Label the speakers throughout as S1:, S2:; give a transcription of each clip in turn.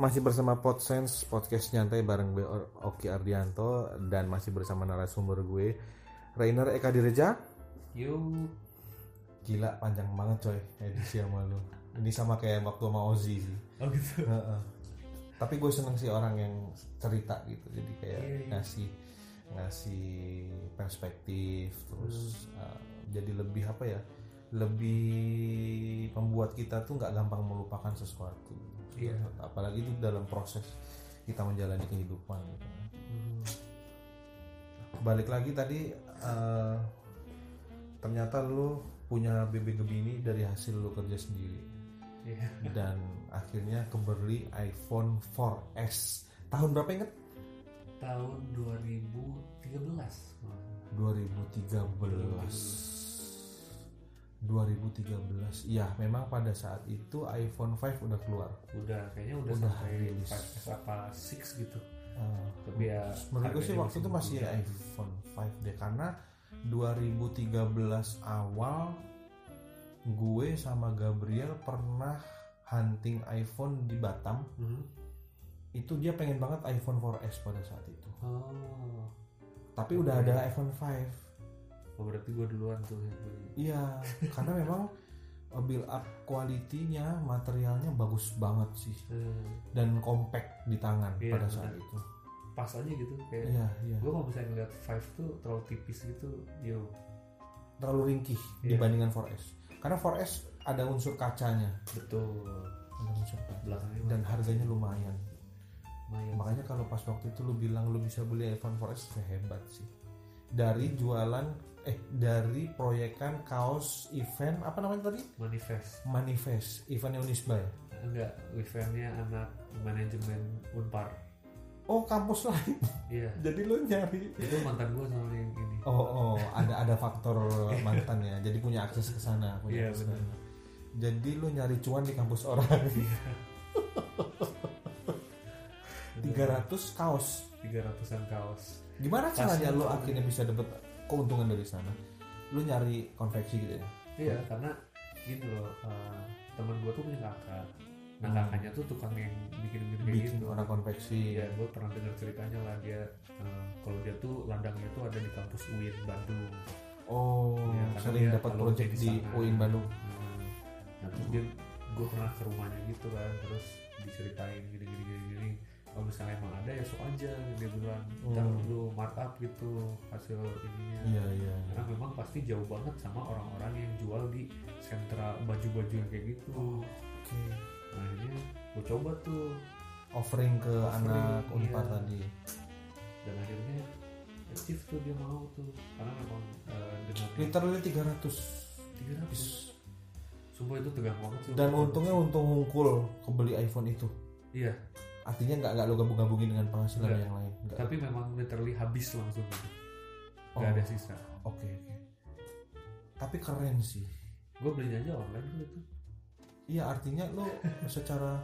S1: Masih bersama Podsense podcast nyantai bareng gue Oki Ardianto dan masih bersama narasumber gue Rainer Eka Direja.
S2: Yuk.
S1: Gila panjang banget coy edisi sama lu. Ini sama kayak waktu sama Ozzy sih.
S2: Oh gitu.
S1: Heeh. Tapi gue seneng sih orang yang cerita gitu. Jadi kayak
S2: Iya, iya.
S1: ngasih ngasih perspektif terus
S2: Hmm.
S1: uh, jadi lebih apa ya? Lebih membuat kita tuh nggak gampang melupakan sesuatu. gitu.
S2: Iya.
S1: Apalagi itu dalam proses kita menjalani kehidupan gitu. Balik lagi tadi uh, ternyata lu punya bebek Gemini dari hasil lu kerja sendiri
S2: Iya.
S1: dan akhirnya kebeli iPhone 4S tahun berapa inget?
S2: Tahun 2013. malah.
S1: 2013 2013 ya memang pada saat itu iPhone 5 udah keluar
S2: Udah kayaknya udah,
S1: Udah
S2: sampai
S1: rilis.
S2: 5S apa 6 gitu.
S1: Eh,
S2: Tapi ya
S1: menurut gue sih
S2: harganya
S1: waktu itu masih
S2: murah.
S1: iPhone 5 deh karena 2013 awal gue sama Gabriel pernah hunting iPhone di Batam
S2: Hmm.
S1: itu dia pengen banget iPhone 4S pada saat itu
S2: Oh.
S1: tapi udah ada iPhone 5
S2: oh, berarti gua duluan tuh yang beli.
S1: Iya, karena memang uh, build up kualitinya, materialnya bagus banget sih
S2: Eh,
S1: dan compact di tangan
S2: Iya,
S1: pada saat itu.
S2: pas aja gitu kayak
S1: Iya, iya.
S2: gua kalau misalnya ngeliat 5 tuh terlalu tipis gitu. Yo.
S1: Terlalu ringkih
S2: Iya.
S1: dibandingkan 4S. Karena 4S ada unsur kacanya,
S2: Betul.
S1: ada unsur kaca.
S2: Belakangnya
S1: dan harganya lumayan.
S2: lumayan.
S1: Makanya kalau pas waktu itu lu bilang lu bisa beli iPhone 4S itu hebat sih. Dari jualan eh dari proyekan kaos event apa namanya tadi?
S2: manifest.
S1: Manifest, eventnya Unisba. ya?
S2: Enggak, eventnya anak manajemen Unpar.
S1: Oh, kampus lain.
S2: Iya.
S1: Jadi lu nyari
S2: Itu mantan gua soalnya yang ini.
S1: Oh, oh, ada ada faktor mantan ya. Jadi punya akses ke sana, punya
S2: Iya,
S1: akses
S2: benar.
S1: sana. Jadi lu nyari cuan di kampus orang. 300 kaos.
S2: 300-an kaos.
S1: Gimana
S2: Pasti.
S1: caranya lu akhirnya bisa dapat keuntungan dari sana? Lu nyari konveksi gitu ya.
S2: Iya, karena gini loh, eh, temen gue tuh punya kakak. Nah
S1: Hmm.
S2: kakaknya tuh tukang yang bikin-bikin kayak
S1: Bikin
S2: gitu.
S1: orang konveksi.
S2: Iya, gue pernah dengar ceritanya lah dia. eh, kalau dia tuh ladangnya tuh ada di kampus UIN Bandung.
S1: Oh,
S2: Iya, karena
S1: sering
S2: dia
S1: dapat
S2: kalau
S1: project
S2: jadi
S1: di
S2: sana.
S1: UIN Bandung.
S2: Nah, nah terus dia gue pernah ke rumahnya gitu kan, terus diceritain gini-gini gini-gini. Kalau misalnya emang ada ya sok aja dia bilang, ntar
S1: Hmm.
S2: lu markup gitu hasil ininya.
S1: Iya, iya.
S2: karena memang pasti jauh banget sama orang-orang yang jual di sentra baju-baju yang
S1: Oh.
S2: kayak gitu
S1: Oke.
S2: nah, akhirnya gue coba tuh
S1: Offering ke
S2: Offering,
S1: anak
S2: iya.
S1: Unpar tadi.
S2: dan akhirnya achieve tuh dia mau tuh karena memang eh, dengan
S1: Literally 300
S2: tiga
S1: piece.
S2: ratus sumpah itu tegang banget sih
S1: Dan untungnya untung ngungkul kebeli iPhone itu.
S2: iya
S1: Artinya nggak nggak lo gabung-gabungin dengan penghasilan
S2: Nggak.
S1: yang lain. Nggak.
S2: tapi memang literally habis langsung gitu
S1: Oh,
S2: nggak ada sisa
S1: Oke oke. Tapi keren sih.
S2: gue belinya aja online gitu tuh itu
S1: Iya artinya lo secara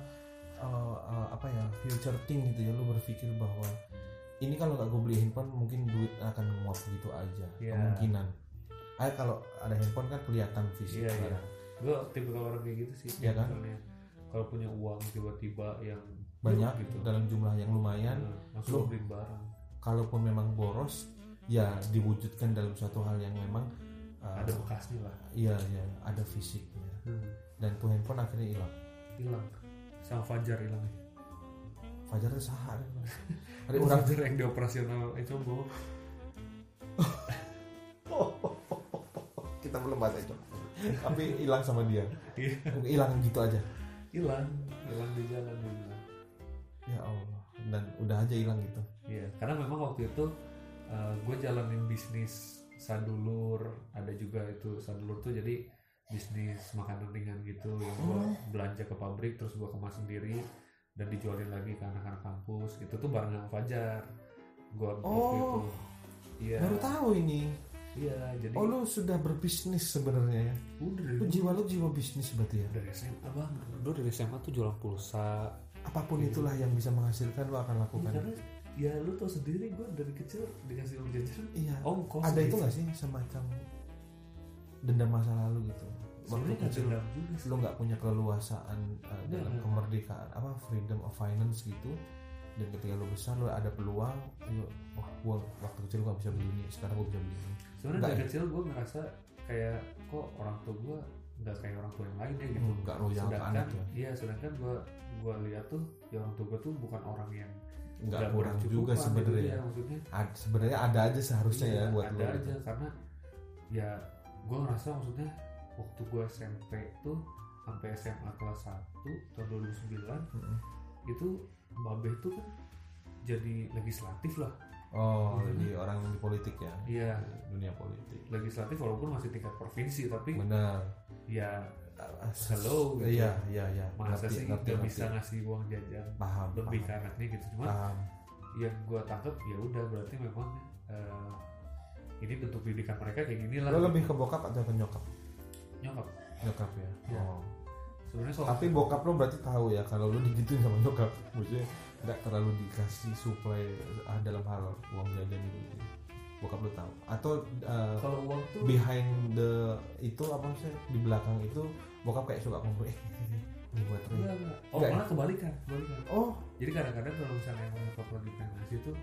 S1: uh, uh, apa ya future think gitu ya lo berpikir bahwa ini kalau nggak gue beli handphone mungkin duit akan nguap gitu aja
S2: Iya.
S1: kemungkinan. Ah kalau ada handphone kan kelihatan fisik.
S2: Iya,
S1: kan.
S2: iya. gue tipikal orang kayak gitu sih
S1: Iya kan?
S2: misalnya kalau punya uang tiba-tiba yang
S1: Banyak
S2: gitu
S1: dalam jumlah yang lumayan.
S2: Nah,
S1: Lu-
S2: langsung beli barang
S1: Kalaupun memang boros ya diwujudkan dalam suatu hal yang memang uh,
S2: ada bekasnya lah
S1: Iya iya ada fisiknya
S2: Hmm,
S1: dan tuh handphone akhirnya hilang.
S2: hilang sama Fajar hilang
S1: Fajar itu sahar. Ada orang
S2: Fajar yang di operasional eh coba
S1: kita belum bahas itu. Tapi hilang sama dia.
S2: Iya.
S1: Hilang gitu aja.
S2: hilang hilang di jalan dia bilang.
S1: Ya Allah. Dan udah aja hilang gitu.
S2: iya karena memang waktu itu gue jalanin bisnis sadulur ada juga itu sadulur tuh jadi bisnis makanan ringan gitu yang
S1: Oh.
S2: gue belanja ke pabrik terus gue kemas sendiri dan dijualin lagi ke anak-anak kampus itu tuh bareng sama Fajar gue waktu itu
S1: Oh.
S2: iya
S1: Baru tahu ini.
S2: iya jadi
S1: Oh lu sudah berbisnis sebenarnya ya.
S2: udah dari
S1: Lu jiwa lu jiwa bisnis berarti ya.
S2: dari SMA bang dulu dari SMA tuh jualan pulsa
S1: Apapun
S2: Iya.
S1: itulah yang bisa menghasilkan lu akan
S2: Ya,
S1: lakukan.
S2: karena ya lu tau sendiri gue dari kecil dikasih uang jajan
S1: Iya.
S2: ongkos
S1: Ada
S2: gitu.
S1: itu gak sih semacam dendam masa lalu gitu?
S2: sebenarnya
S1: makanya
S2: nggak
S1: kecil
S2: dendam juga sih.
S1: lu nggak punya keleluasaan uh, dalam
S2: Iya.
S1: kemerdekaan apa freedom of finance gitu dan ketika lu besar lu ada peluang yuk wah gua waktu kecil gua nggak bisa beli ini sekarang gua bisa beli ini
S2: sebenarnya
S1: Nggak
S2: dari
S1: ya?
S2: kecil gue ngerasa kayak kok orang tua gue nggak kayak orang tua yang lain deh gitu
S1: Hmm, nggak royal ke
S2: sedangkan
S1: anak ya
S2: iya sedangkan gue gue lihat tuh ya orang tua gue tuh bukan orang yang
S1: nggak
S2: nggak
S1: kurang juga
S2: berkecukupan gitu
S1: sebenarnya
S2: ya, maksudnya
S1: Ad- sebenarnya ada aja seharusnya
S2: Iya,
S1: ya buat
S2: ada
S1: lu
S2: aja karena ya gue ngerasa maksudnya waktu gue SMP tuh sampai SMA kelas 1 tahun 2009
S1: Mm-mm.
S2: itu Babe itu kan jadi legislatif lah
S1: oh
S2: Maksudnya-
S1: jadi orang yang di politik ya
S2: Hmm. iya
S1: dunia politik
S2: legislatif walaupun masih tingkat provinsi tapi
S1: benar
S2: ya Hello,
S1: Slow
S2: gitu.
S1: iya iya iya
S2: masa
S1: Ngerti, ngerti,
S2: sih nggak
S1: ngerti.
S2: bisa ngasih uang jajan
S1: paham
S2: lebih ke
S1: paham,
S2: anaknya gitu cuman
S1: paham.
S2: yang gue tangkap ya udah berarti memang eh, ini bentuk didikan mereka kayak gini lah
S1: lo lebih ke bokap atau ke nyokap
S2: nyokap
S1: nyokap ya
S2: Iya.
S1: oh
S2: sebenarnya soal
S1: Tapi bokap lo berarti tahu ya kalau lo digituin sama nyokap, maksudnya nggak terlalu dikasih suplai ah, dalam hal uang jajan gitu. Bokap lo tahu atau uh,
S2: kalau uang tuh
S1: behind the itu apa sih di belakang itu bokap kayak suka ngobrol eh ini buat Roy."
S2: Enggak, enggak. Oh,
S1: Enggak ya?
S2: malah kebalikan, kebalikan.
S1: Oh,
S2: Jadi kadang-kadang kalau misalnya emang nyokap lagi pengen ngasih tuh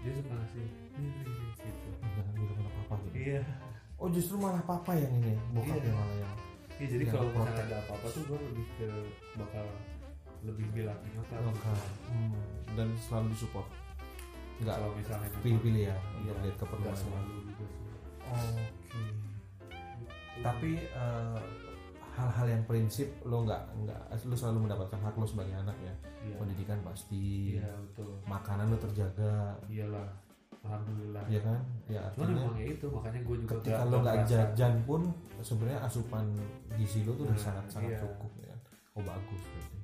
S2: dia suka ngasih nih nih nih gitu.
S1: jangan bilang sama papa gitu.
S2: Iya.
S1: Oh, justru malah papa yang ini, bokap
S2: Iya.
S1: yang malah yang.
S2: Iya, jadi
S1: Yang
S2: kalau
S1: protek.
S2: misalnya ada apa-apa tuh gue lebih ke bakal lebih bilang ke nyokap.
S1: Nyokap. Hmm, Dan selalu disupport. Enggak
S2: Kalau misalnya memang-
S1: pilih-pilih ya,
S2: Iya,
S1: untuk lihat
S2: enggak
S1: keperluan.
S2: selalu juga sih.
S1: Oke.
S2: Gitu.
S1: tapi eh, hal-hal yang prinsip lo nggak nggak lo selalu mendapatkan hak lo sebagai anak ya
S2: iya.
S1: pendidikan pasti
S2: Iya, betul.
S1: makanan lo terjaga
S2: Iyalah. Alhamdulillah.
S1: ya kan ya
S2: Cuman
S1: artinya
S2: emang ya itu makanya gue juga
S1: ketika
S2: nggak-
S1: lo nggak
S2: ngerasa-
S1: jajan pun sebenarnya asupan gizi lo tuh udah
S2: Nah,
S1: sangat sangat
S2: iya.
S1: cukup ya oh bagus berarti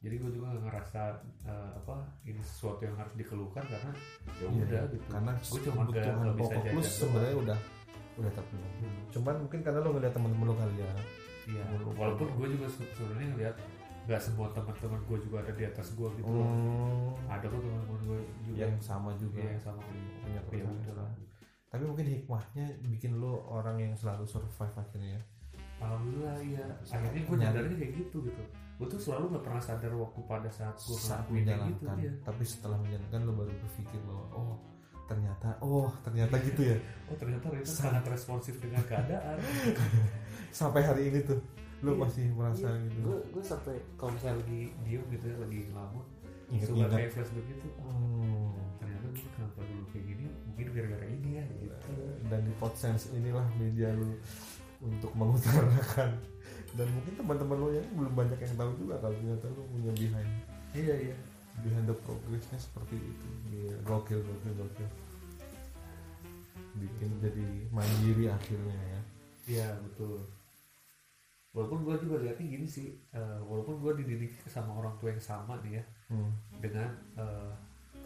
S2: Jadi gue juga nggak ngerasa eh, apa ini sesuatu yang harus dikeluhkan karena ya
S1: Iya,
S2: udah
S1: iya.
S2: gitu.
S1: karena
S2: Gua cuma nggak-
S1: kebutuhan
S2: nggak bisa
S1: pokok lo
S2: jajan doang.
S1: sebenarnya udah udah terpenuhi
S2: Hmm.
S1: cuman mungkin karena lo ngeliat temen-temen lo kali ya
S2: Iya,
S1: Walaupun-
S2: walaupun gue juga se- sebenarnya ngeliat nggak semua teman-teman gue juga ada di atas gue gitu. loh.
S1: Hmm,
S2: Ada kok teman-teman gue juga
S1: yang sama juga
S2: Iya, yang sama kayak gue.
S1: punya
S2: Iya,
S1: kepercayaan
S2: betul.
S1: sama. tapi mungkin hikmahnya bikin lo orang yang selalu survive akhirnya ya.
S2: Alhamdulillah iya. Akhirnya gue
S1: Nyari.
S2: nyadarnya kayak gitu gitu. Gue tuh selalu nggak pernah sadar waktu pada saat gue
S1: saat
S2: ngelakuin kayak gitu.
S1: menjalankan
S2: Iya.
S1: tapi setelah menjalankan lo baru berpikir bahwa oh ternyata oh ternyata gitu ya
S2: Oh ternyata Rita sangat responsif dengan keadaan.
S1: sampai hari ini tuh lo
S2: Iya,
S1: masih merasa gitu
S2: Gue gue sampai kalau misalnya lagi diem gitu ya lagi ngelamun, suka
S1: ingat-ingat
S2: kayak flashback gitu. Oh,
S1: Hmm.
S2: ternyata gue kenapa dulu kayak gini? Mungkin gara-gara ini ya gitu.
S1: dan di Podsense inilah media lo untuk mengutarakan dan mungkin teman-teman lo yang belum banyak yang tahu juga kalau ternyata lo punya behind
S2: Iya iya.
S1: behind the progressnya seperti itu Gila, gokil gokil gokil bikin jadi mandiri akhirnya ya
S2: Iya betul. Walaupun gue juga lihatnya gini sih, eh, walaupun gue dididik sama orang tua yang sama nih ya,
S1: hmm.
S2: dengan eh,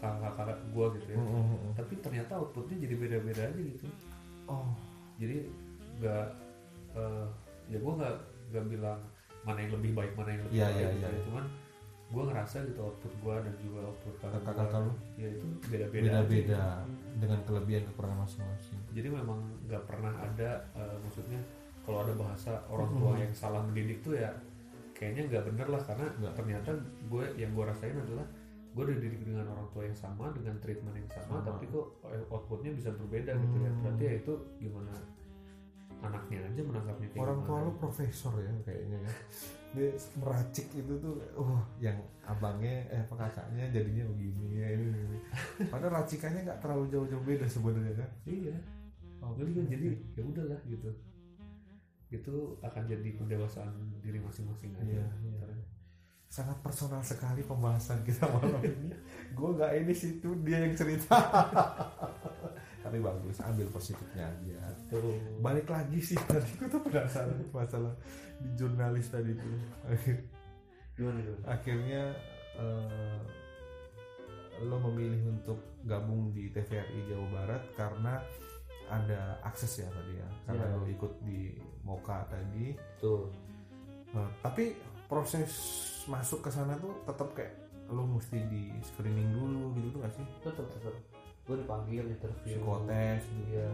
S2: kakak-kakak gue gitu ya,
S1: Hmm, hmm, hmm, hmm.
S2: tapi ternyata outputnya jadi beda-beda aja gitu.
S1: oh
S2: Jadi nggak, eh, ya gue nggak nggak bilang mana yang lebih baik mana yang lebih
S1: Iya,
S2: baik,
S1: iya,
S2: gitu
S1: iya.
S2: ya. cuman gue ngerasa gitu output gue dan juga output kakak
S1: Kakak-kakak
S2: gua,
S1: lu?
S2: ya itu beda-beda. aja
S1: beda-beda
S2: gitu.
S1: dengan kelebihan kekurangan masing-masing
S2: jadi memang nggak pernah ada eh, maksudnya kalau ada bahasa orang tua
S1: Mhm.
S2: yang salah mendidik tuh ya kayaknya nggak bener lah karena
S1: Nggak.
S2: ternyata gue yang gue rasain adalah gue dididik dengan orang tua yang sama dengan treatment yang sama,
S1: Sama.
S2: tapi kok eh, outputnya bisa berbeda gitu ya
S1: Hmm.
S2: berarti ya itu gimana anaknya aja menangkapnya kayak
S1: orang tua
S2: gimana.
S1: lo profesor ya kayaknya ya dia meracik itu tuh oh yang abangnya eh apa kakaknya jadinya begini ya ini, ini. padahal racikannya nggak terlalu jauh-jauh beda sebenarnya kan
S2: iya
S1: oh,
S2: gue juga jadi ya udahlah gitu itu akan jadi pendewasaan diri masing-masing aja
S1: Iya, iya. sangat personal sekali pembahasan kita malam ini. Gue nggak ini situ dia yang cerita. Tapi bagus, ambil positifnya aja.
S2: Tuh.
S1: Balik lagi sih tadi gue tuh penasaran masalah di jurnalis tadi itu.
S2: gimana gimana?
S1: Akhirnya eh, lo memilih untuk gabung di TVRI Jawa Barat karena ada akses ya tadi ya. Karena
S2: Iya.
S1: lo ikut di Moka tadi.
S2: tuh
S1: Nah, tapi proses masuk ke sana tuh tetap kayak lo mesti di screening dulu gitu tuh gak sih?
S2: tetap tetap gue dipanggil interview Iya, eh,
S1: Psikotes
S2: dia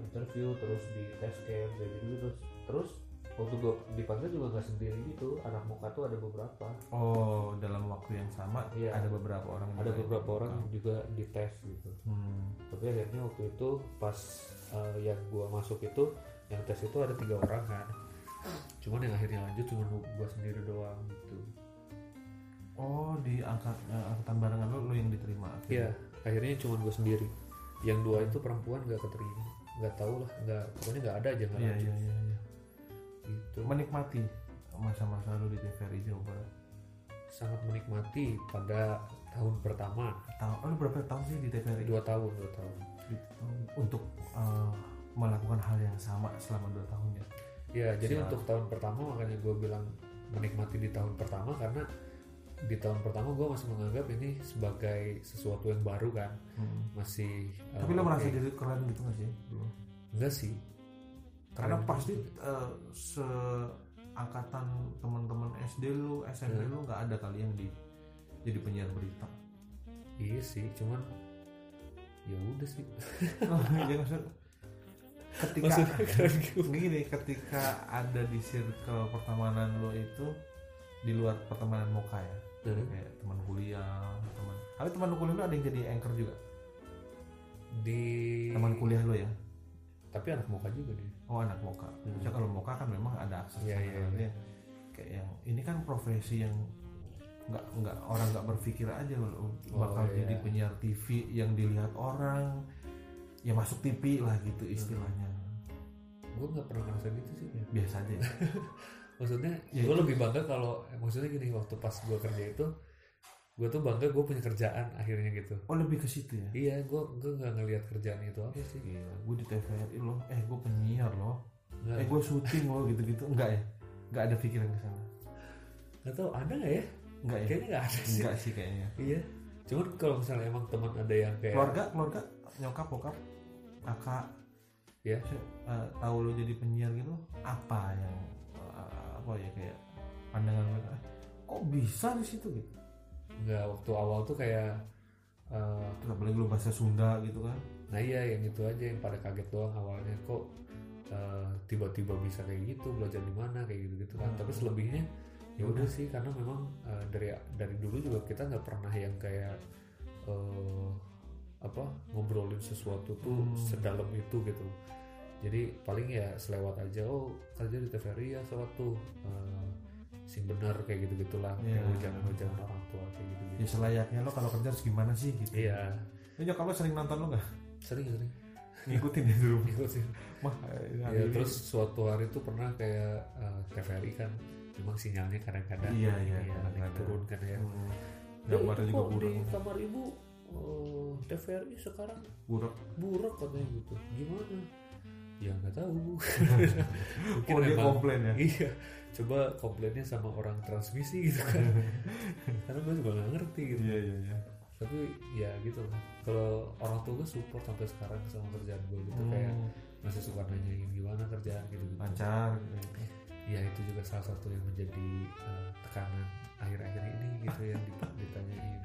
S2: interview gitu. terus di tes camp kayak gitu terus terus waktu gue di pantai juga nggak sendiri gitu anak muka tuh ada beberapa
S1: Oh, dalam waktu yang sama
S2: Iya.
S1: ada beberapa orang. yang
S2: ada
S1: lain.
S2: beberapa orang yang juga dites gitu
S1: Hmm.
S2: tapi akhirnya waktu itu pas eh, yang gua masuk itu yang tes itu ada tiga orang kan cuman yang akhirnya lanjut cuma gua sendiri doang gitu
S1: Oh, di angkat eh, angkatan barengan lo, lo yang diterima. akhirnya.
S2: iya akhirnya cuma gua sendiri yang dua itu perempuan gak keterima nggak tahu lah nggak pokoknya nggak ada aja nggak
S1: Iya,
S2: lanjut
S1: iya, iya, iya.
S2: gitu
S1: Menikmati masa-masa lo di TVRI Jawa Barat.
S2: sangat menikmati pada tahun pertama
S1: Tahu, oh, lo berapa tahun sih di TVRI?
S2: dua tahun dua tahun
S1: Untuk eh, melakukan hal yang sama selama dua tahun ya.
S2: Ya,
S1: Siap.
S2: jadi untuk tahun pertama makanya gue bilang menikmati di tahun pertama karena di tahun pertama gue masih menganggap ini sebagai sesuatu yang baru kan,
S1: Hmm.
S2: masih. eh,
S1: Tapi lo merasa
S2: oke.
S1: jadi keren gitu nggak sih? dulu?
S2: Enggak sih.
S1: Karena
S2: Keren.
S1: pasti eh, seangkatan teman-teman SD lu, SMP lu nggak ada kali yang di jadi penyiar berita.
S2: Iya sih, cuman ya udah sih.
S1: Iya, maksud- ketika
S2: Maksudnya keren gitu.
S1: gini, ketika ada di circle pertemanan lu itu di luar pertemanan muka ya,
S2: Hmm.
S1: kayak teman kuliah, teman. Tapi teman lu kuliah lu ada yang jadi anchor juga.
S2: Di
S1: Teman kuliah lu ya.
S2: tapi anak muka juga deh.
S1: Oh anak moka.
S2: Hmm.
S1: Maksudnya kalau moka kan memang ada akses. sama
S2: Iya, iya,
S1: hal lain. Kayak yang ini kan profesi yang nggak nggak orang nggak berpikir aja loh bakal
S2: iya.
S1: jadi penyiar TV yang dilihat orang ya masuk TV lah gitu
S2: Hmm.
S1: istilahnya
S2: Gue nggak pernah ngerasa gitu sih. ya.
S1: biasa aja ya.
S2: Maksudnya
S1: Ya,
S2: gue lebih bangga kalau maksudnya gini waktu pas gue kerja itu gue tuh bangga gue punya kerjaan akhirnya gitu.
S1: oh lebih ke situ ya
S2: Iya, gue gue nggak ngelihat kerjaan itu apa sih.
S1: Gila, gue di TVRI loh eh gue penyiar loh
S2: Nggak,
S1: eh gue syuting loh gitu gitu enggak ya enggak ada pikiran ke sana
S2: nggak tahu ada nggak ya?
S1: enggak ya
S2: Kayaknya nggak ada sih.
S1: enggak sih kayaknya
S2: Iya. Cuman kalau misalnya emang teman ada yang kayak
S1: keluarga keluarga nyokap bokap kakak
S2: Iya.
S1: Eh, tahu lo jadi penyiar gitu apa yang eh, apa ya kayak pandangan mereka "Ah, kok bisa di situ gitu
S2: nggak waktu awal tuh kayak eh,
S1: terus apalagi lo bahasa Sunda gitu kan
S2: nah iya yang itu aja yang pada kaget doang awalnya kok eh, tiba-tiba bisa kayak gitu belajar di mana kayak gitu gitu kan
S1: Hmm.
S2: tapi selebihnya ya udah sih karena memang eh, dari dari dulu juga kita nggak pernah yang kayak eh, apa ngobrolin sesuatu tuh
S1: Hmm.
S2: sedalam itu gitu jadi paling ya selewat aja oh kerja di TVRI ya selewat tuh eh, sing benar kayak gitu gitulah
S1: Iya.
S2: kayak hujangan-hujangan orang tua kayak gitu
S1: ya
S2: gitu
S1: selayaknya lo kalau kerja harus gimana sih gitu
S2: iya
S1: Lo nyokap lo sering nonton lo nggak
S2: sering sering
S1: ngikutin ya dulu
S2: ikut sih
S1: mah eh, hari
S2: Ya,
S1: ini-
S2: terus suatu hari tuh pernah kayak eh, TVRI kan memang sinyalnya kadang-kadang
S1: Iya, iya,
S2: ini ya,
S1: kadang-kadang.
S2: naik turun kan ya.
S1: Hmm,
S2: Ya,
S1: gambar
S2: itu
S1: juga
S2: kok
S1: buruk
S2: di kamar ibu eh, TVRI sekarang
S1: buruk
S2: buruk katanya gitu. Gimana? Ya nggak tahu. Mungkin
S1: oh dia
S2: memang-
S1: komplain ya
S2: Iya, coba komplainnya sama orang transmisi gitu kan. Karena gue juga nggak ngerti gitu.
S1: iya iya iya
S2: Tapi ya gitu lah. Kalau orang tua gue support sampai sekarang sama kerjaan gue gitu kayak
S1: Hmm,
S2: masih suka nanyain gimana kerjaan gitu gitu.
S1: lancar gitu.
S2: ya itu juga salah satu yang menjadi eh, tekanan akhir-akhir ini gitu yang dip- ditanyain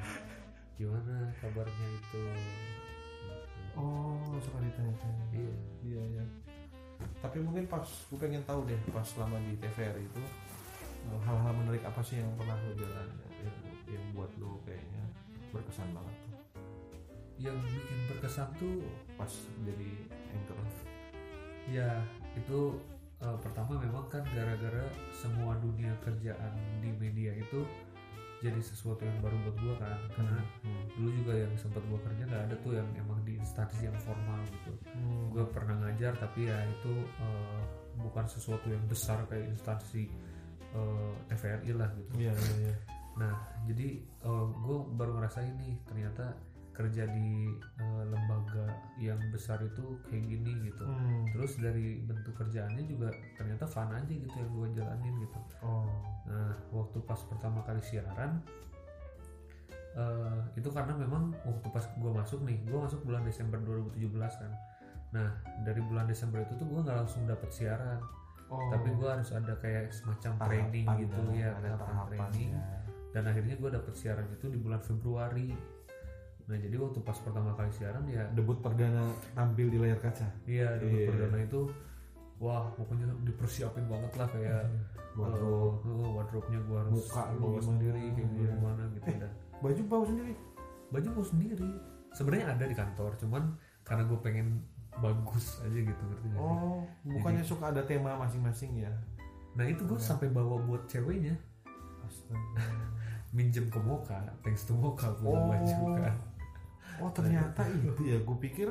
S2: gimana kabarnya itu Gitu.
S1: oh suka ditanya-tanya
S2: iya
S1: Iya iya. Tapi mungkin pas gue pengen tahu deh pas selama di TVRI itu eh, hal-hal menarik apa sih yang pernah lo jalan yang, yang buat lo kayaknya berkesan banget tuh
S2: yang bikin berkesan tuh
S1: pas jadi anchor.
S2: ya itu eh, pertama memang kan gara-gara semua dunia kerjaan di media itu jadi sesuatu yang baru buat gua kan karena
S1: Hmm.
S2: dulu juga yang sempat gua kerja nggak ada tuh yang emang di instansi yang formal gitu
S1: Hmm.
S2: gue pernah ngajar tapi ya itu eh, bukan sesuatu yang besar kayak instansi eh, TVRI lah gitu
S1: Iya iya iya.
S2: nah jadi gue baru ngerasain nih ternyata kerja di eh, lembaga yang besar itu kayak gini gitu
S1: Hmm.
S2: terus dari bentuk kerjaannya juga ternyata fun aja gitu yang gue jalanin gitu
S1: Oh.
S2: nah waktu pas pertama kali siaran eh, itu karena memang waktu pas gue masuk nih gue masuk bulan Desember 2017 kan nah dari bulan Desember itu tuh gue nggak langsung dapet siaran
S1: Oh.
S2: tapi gue harus ada kayak semacam training
S1: Tahapan
S2: gitu
S1: dong,
S2: ya
S1: Ada
S2: tahapan
S1: tahapan
S2: training
S1: ya.
S2: dan akhirnya gue dapet siaran itu di bulan Februari nah jadi waktu pas pertama kali siaran ya
S1: Debut perdana tampil di layar kaca.
S2: Iya, dulu
S1: Iya.
S2: perdana itu wah pokoknya dipersiapin banget lah kayak
S1: Wardrobe.
S2: eh, eh, wardrobe-nya gua harus
S1: Muka lu
S2: bawa
S1: gimana,
S2: sendiri kayak
S1: iya.
S2: gimana gitu dan
S1: baju bawa sendiri
S2: baju gua sendiri sebenarnya ada di kantor cuman karena gue pengen bagus aja gitu ngerti nggak sih?
S1: oh bukannya suka ada tema masing-masing ya
S2: nah itu gue sampai bawa buat ceweknya
S1: Astaga.
S2: minjem ke Moka thanks to Moka punya
S1: Oh.
S2: baju kan
S1: oh ternyata itu ya gue pikir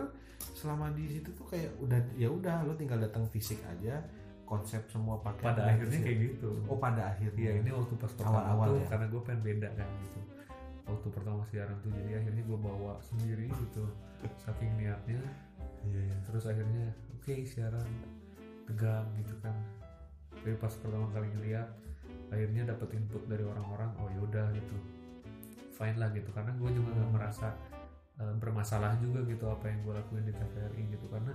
S1: selama di situ tuh kayak udah ya udah lo tinggal datang fisik aja konsep semua pakai
S2: pada akhirnya kayak gitu
S1: oh pada akhirnya
S2: Iya ini waktu pas pertama
S1: Awal-awal
S2: tuh
S1: ya?
S2: karena gue pengen beda kan gitu waktu pertama siaran tuh jadi akhirnya gue bawa sendiri gitu saking niatnya
S1: Iya, iya.
S2: terus akhirnya oke siaran tegang gitu kan tapi pas pertama kali ngeliat akhirnya dapet input dari orang-orang oh yaudah gitu fine lah gitu karena gue juga nggak merasa eh, bermasalah juga gitu apa yang gue lakuin di TVRI gitu karena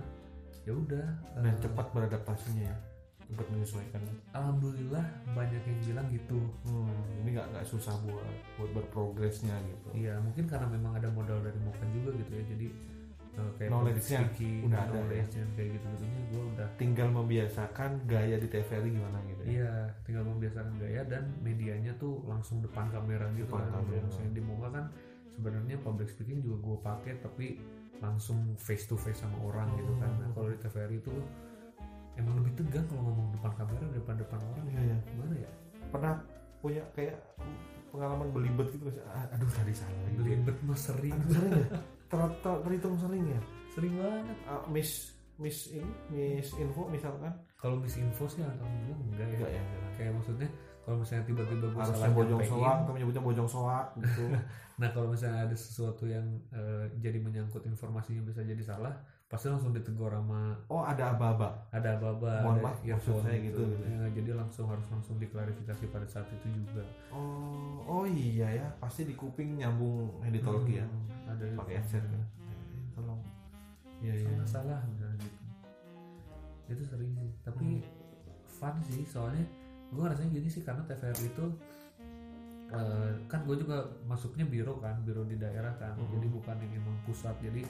S2: ya udah
S1: dan
S2: eh,
S1: Nah, cepat beradaptasinya ya cepat menyesuaikan
S2: alhamdulillah banyak yang bilang gitu
S1: hmm, ini nggak nggak susah buat buat berprogresnya gitu
S2: Iya mungkin karena memang ada modal dari Moka juga gitu ya jadi eh, kayak
S1: Knowledge-nya udah ada ya.
S2: knowledge-nya kayak gitu gitunya gue udah
S1: tinggal membiasakan gaya di TVRI gimana gitu ya.
S2: iya tinggal membiasakan gaya dan medianya tuh langsung depan kamera gitu
S1: Depan
S2: kan Kalau
S1: kamera.
S2: misalnya di Moka kan sebenarnya public speaking juga gue pakai tapi langsung face to face sama orang gitu kan Nah, kalau di TVRI itu emang lebih tegang kalau ngomong depan kamera depan depan orang
S1: Iya, iya.
S2: gimana ya
S1: pernah punya kayak pengalaman belibet gitu nggak sih? Ah, aduh tadi salah gitu.
S2: belibet mas sering
S1: Aduh, sering ya ter, ter- terhitung sering ya
S2: sering banget
S1: Ah, miss miss ini miss info misalkan
S2: kalau misinfo sih alhamdulillah enggak ya
S1: enggak ya enggak.
S2: kayak maksudnya kalau misalnya tiba-tiba gue
S1: harusnya
S2: salah
S1: bojong
S2: nyampein,
S1: soak kamu nyebutnya bojong soak gitu
S2: nah kalau misalnya ada sesuatu yang eh, jadi menyangkut informasinya bisa jadi salah pasti langsung ditegur sama
S1: oh ada aba-aba
S2: ada baba
S1: Mohon
S2: ada
S1: maaf, maksud saya gitu, gitu.
S2: Ya, jadi langsung harus langsung diklarifikasi pada saat itu juga
S1: oh oh iya ya pasti di kuping nyambung editologi ya
S2: Hmm, ada
S1: pakai headset kan tolong iya iya
S2: salah salah misalnya gitu itu sering sih tapi
S1: Hmm.
S2: fun sih soalnya gue rasanya gini sih karena TVR itu eh, kan gue juga masuknya biro kan biro di daerah kan
S1: Mhm.
S2: jadi bukan yang emang pusat jadi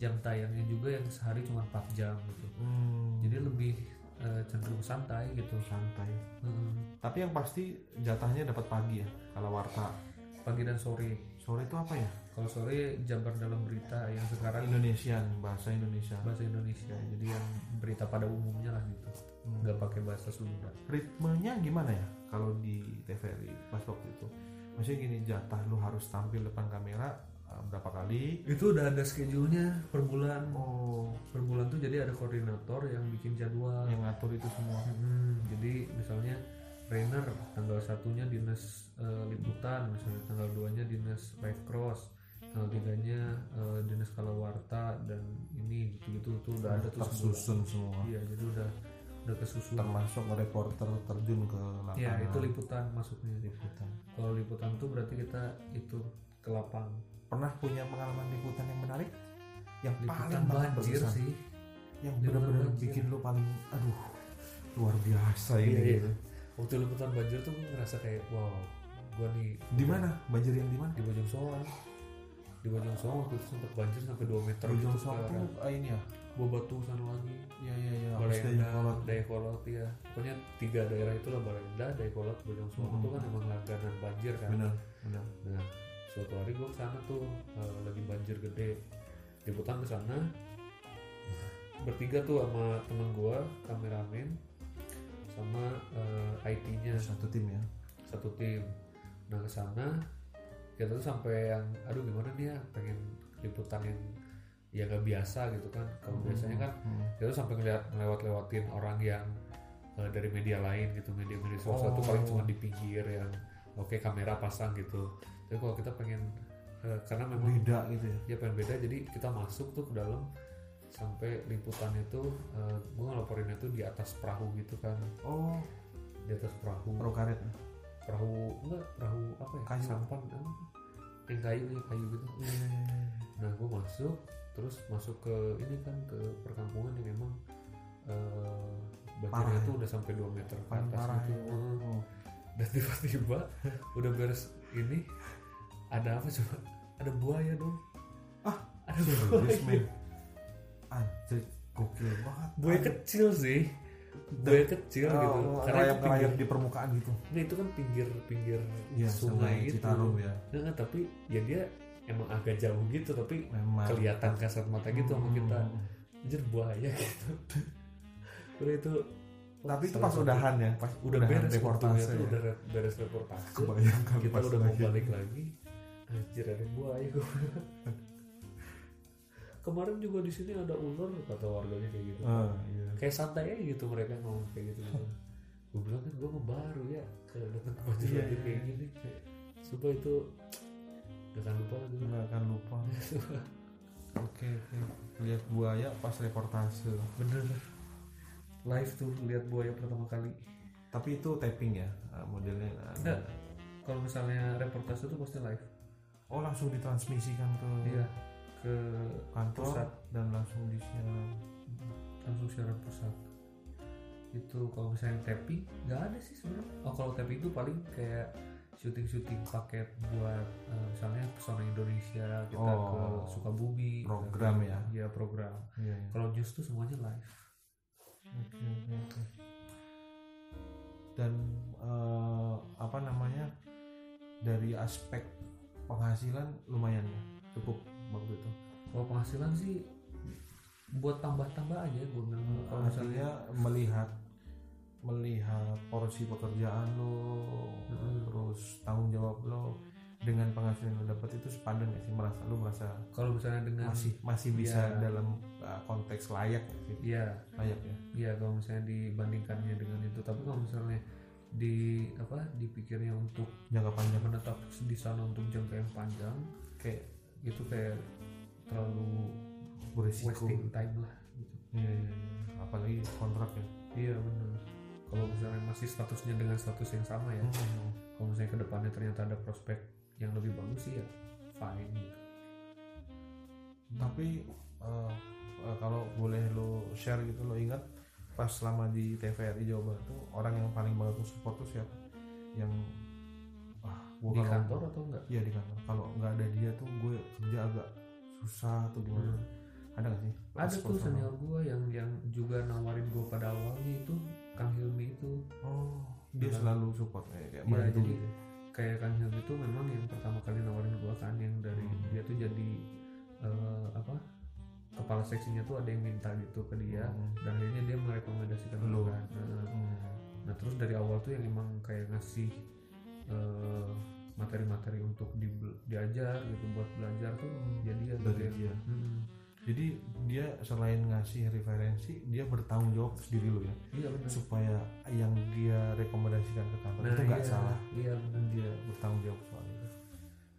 S2: jam tayangnya juga yang sehari cuma 4 jam gitu
S1: Hmm,
S2: jadi lebih eh, cenderung santai gitu
S1: santai
S2: Hmm,
S1: tapi yang pasti jatahnya dapat pagi ya kalau warta
S2: pagi dan sore
S1: sore itu apa ya
S2: kalau sore jabar dalam berita yang sekarang
S1: Indonesian bahasa Indonesia
S2: bahasa Indonesia jadi yang berita pada umumnya lah gitu
S1: Hmm.
S2: nggak pakai bahasa Sunda
S1: ritmenya gimana ya kalau di TVRI pas waktu itu maksudnya gini jatah lu harus tampil depan kamera eh, berapa kali
S2: itu udah ada schedule-nya per bulan
S1: oh
S2: per bulan tuh jadi ada koordinator yang bikin jadwal
S1: yang ngatur itu semua
S2: Hmm, jadi misalnya trainer tanggal satunya dinas eh, liputan misalnya tanggal 2 nya dinas red cross tanggal tiganya eh, dinas kalawarta dan ini gitu gitu tuh udah ada tuh sebulan.
S1: tersusun semua
S2: iya jadi udah udah kesusun
S1: termasuk reporter terjun ke lapangan
S2: ya itu liputan masuknya
S1: liputan
S2: kalau liputan tuh berarti kita itu ke lapang
S1: pernah punya pengalaman liputan yang menarik yang
S2: liputan
S1: paling banget
S2: banjir
S1: berkesan?
S2: sih
S1: yang
S2: Liputan
S1: benar-benar
S2: banjir.
S1: bikin lu paling aduh luar biasa ini
S2: Iya, iya.
S1: gitu.
S2: waktu liputan banjir tuh gue ngerasa kayak wow gue nih
S1: di mana banjir yang di mana
S2: di Bojong Soang di Bojong Soang waktu itu sempat banjir sampai 2 meter
S1: Bojong
S2: gitu
S1: Soang
S2: ke
S1: tuh
S2: arah
S1: ah, ini ya
S2: Buah Batu sana lagi
S1: ya ya ya Abis dari
S2: Balenda,
S1: Kolot.
S2: Dayakolot ya pokoknya tiga daerah itulah Balenda, Dayakolot, Bojong Soang
S1: Hmm.
S2: itu kan emang langganan banjir kan
S1: benar benar
S2: nah suatu hari gue kesana tuh eh, lagi banjir gede liputan kesana bertiga tuh sama temen gue kameramen sama IT-nya
S1: satu tim ya
S2: satu tim nah ke sana kita tuh sampai yang aduh gimana nih ya pengen liputan yang ya nggak biasa gitu kan kalau biasanya kan
S1: Hmm.
S2: kita tuh sampai ngeliat ngelewat lewatin orang yang eh, dari media lain gitu media media swasta tuh
S1: Oh.
S2: paling cuma di pinggir yang oke kamera pasang gitu tapi kalau kita pengen eh, karena memang
S1: beda gitu ya
S2: ya pengen beda jadi kita masuk tuh ke dalam sampai liputannya tuh eh, gue ngelaporinnya tuh di atas perahu gitu kan
S1: oh
S2: di atas perahu
S1: pro karet
S2: perahu enggak perahu apa ya
S1: Kayu.
S2: sampan apa? yang kayu yang kayu gitu nah gue masuk terus masuk ke ini kan ke perkampungan yang emang eh banjirnya
S1: Parah ya?
S2: tuh udah sampai 2 meter ke
S1: paling
S2: atas
S1: parah
S2: gitu
S1: ya.
S2: Eh,
S1: Oh.
S2: dan tiba-tiba udah beres ini ada apa coba ada buaya dong
S1: Ah,
S2: ada
S1: serius
S2: buaya
S1: men anjir gokil banget
S2: buaya kecil sih gue kecil
S1: Oh,
S2: gitu karena itu pinggir
S1: ngelayap-ngelayap di permukaan gitu
S2: nah, itu kan pinggir pinggir
S1: Iya,
S2: sungai gitu
S1: Citarum ya
S2: Nah, tapi ya dia emang agak jauh gitu tapi
S1: memang
S2: kelihatan kasat mata gitu
S1: Nah,
S2: sama
S1: Hmm.
S2: kita anjir buaya gitu udah itu
S1: tapi itu
S2: salah
S1: pas
S2: satu-
S1: udahan ya pas
S2: udah
S1: udahan
S2: beres reportase
S1: reportase ya.
S2: udah re- beres reportase
S1: kebayang kan
S2: kita
S1: pas
S2: udah mau
S1: lagi.
S2: balik lagi anjir ada buaya gua bilang. kemarin juga di sini ada ular kata warganya kayak gitu
S1: Ah, iya.
S2: kayak santai aja gitu mereka ngomong kayak gitu gue bilang kan gue baru ya kalau datang ke Banjarmasin
S1: Iya, iya.
S2: kayak gini supaya itu gak akan lupa gue
S1: nggak akan lupa oke oke lihat buaya pas reportase
S2: bener live tuh lihat buaya pertama kali
S1: tapi itu taping ya ah, modelnya
S2: Enggak. kalau misalnya reportase tuh pasti live
S1: oh langsung ditransmisikan ke
S2: iya ke
S1: kantor
S2: Pusat.
S1: dan langsung di share
S2: langsung siaran pusat itu kalau misalnya tapping nggak ada sih sebenarnya oh kalau tapping itu paling kayak syuting syuting paket buat eh, misalnya pesona Indonesia kita ke
S1: Oh.
S2: Sukabumi
S1: Program ya?
S2: ya program
S1: iya iya.
S2: kalau news tuh semuanya live
S1: Oke, oke, oke. dan eh, apa namanya dari aspek penghasilan lumayan ya cukup waktu itu
S2: kalau penghasilan sih buat tambah-tambah aja gue bilang kalau misalnya
S1: artinya melihat melihat porsi pekerjaan lo
S2: Mm-mm.
S1: terus tanggung jawab lo dengan penghasilan yang lo dapat itu sepadan gak sih merasa lo merasa
S2: kalau misalnya dengan
S1: masih masih bisa
S2: Nah, Iya.
S1: dalam uh, konteks layak gak sih
S2: ya
S1: layak ya
S2: Iya kalau misalnya dibandingkannya dengan itu, tapi kalau misalnya di apa dipikirnya untuk
S1: jangka panjang
S2: menetap di sana untuk jangka yang panjang, kayak itu kayak terlalu
S1: berisiko
S2: wasting time lah.
S1: Iya, iya, iya. apalagi kontrak ya
S2: Iya benar. Kalau misalnya masih statusnya dengan status yang sama ya,
S1: Hmm.
S2: kalau misalnya kedepannya ternyata ada prospek yang lebih bagus sih ya fine gitu.
S1: tapi uh, uh, kalau boleh lo share gitu lo ingat pas selama di TVRI Jawa Barat tuh orang yang paling banget lo support tuh siapa yang wah gue
S2: Di
S1: kalau
S2: kantor atau enggak?
S1: iya di kantor kalau nggak ada dia tuh gue kerja agak susah atau gimana
S2: Hmm.
S1: ada gak sih
S2: Ada
S1: Support
S2: tuh
S1: sama-
S2: senior gue yang yang juga nawarin gue pada awalnya itu Kang Hilmi itu
S1: oh dia
S2: Iya.
S1: selalu support ya, kayak
S2: Iya,
S1: bantu
S2: jadi-
S1: gitu
S2: kayak Kang Hilmi itu memang yang pertama kali nawarin gua kan yang dari
S1: Hmm.
S2: dia tuh jadi eh, apa kepala seksinya tuh ada yang minta gitu ke dia
S1: Hmm.
S2: dan akhirnya dia merekomendasikan
S1: Lu.
S2: gua kan. Nah,
S1: Hmm.
S2: nah terus dari awal tuh yang emang kayak ngasih eh, materi-materi untuk di, diajar gitu buat belajar tuh jadi ya
S1: Hmm. dari
S2: gitu ya.
S1: dia
S2: Mm-mm.
S1: jadi dia selain ngasih referensi dia bertanggung jawab sendiri lo ya
S2: iya benar
S1: supaya yang dia rekomendasikan ke kantor itu nggak
S2: iya,
S1: salah
S2: iya benar
S1: dia bertanggung jawab soal itu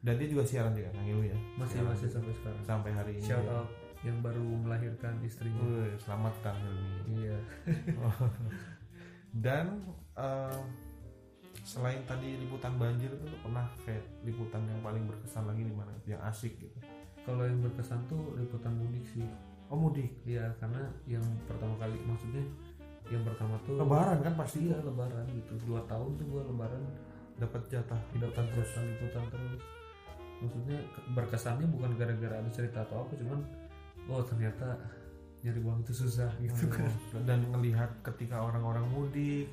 S1: dan dia juga siaran juga Kang Ilu ya
S2: masih
S1: Siaran
S2: masih
S1: juga.
S2: sampai sekarang
S1: sampai hari ini
S2: shout out yang baru melahirkan istrinya
S1: Wih, selamat Kang Hilmi
S2: iya
S1: dan eh, selain tadi liputan banjir itu lu pernah kayak liputan yang paling berkesan lagi di mana yang asik gitu
S2: kalau yang berkesan tuh liputan mudik sih
S1: oh mudik
S2: Iya karena yang pertama kali maksudnya yang pertama tuh
S1: lebaran kan pasti
S2: iya lebaran gitu dua tahun tuh gua lebaran
S1: dapat jatah
S2: liputan terus liputan terus maksudnya ke- berkesannya bukan gara-gara ada cerita atau apa cuman oh ternyata nyari uang itu susah gitu kan
S1: dan ngelihat ketika orang-orang mudik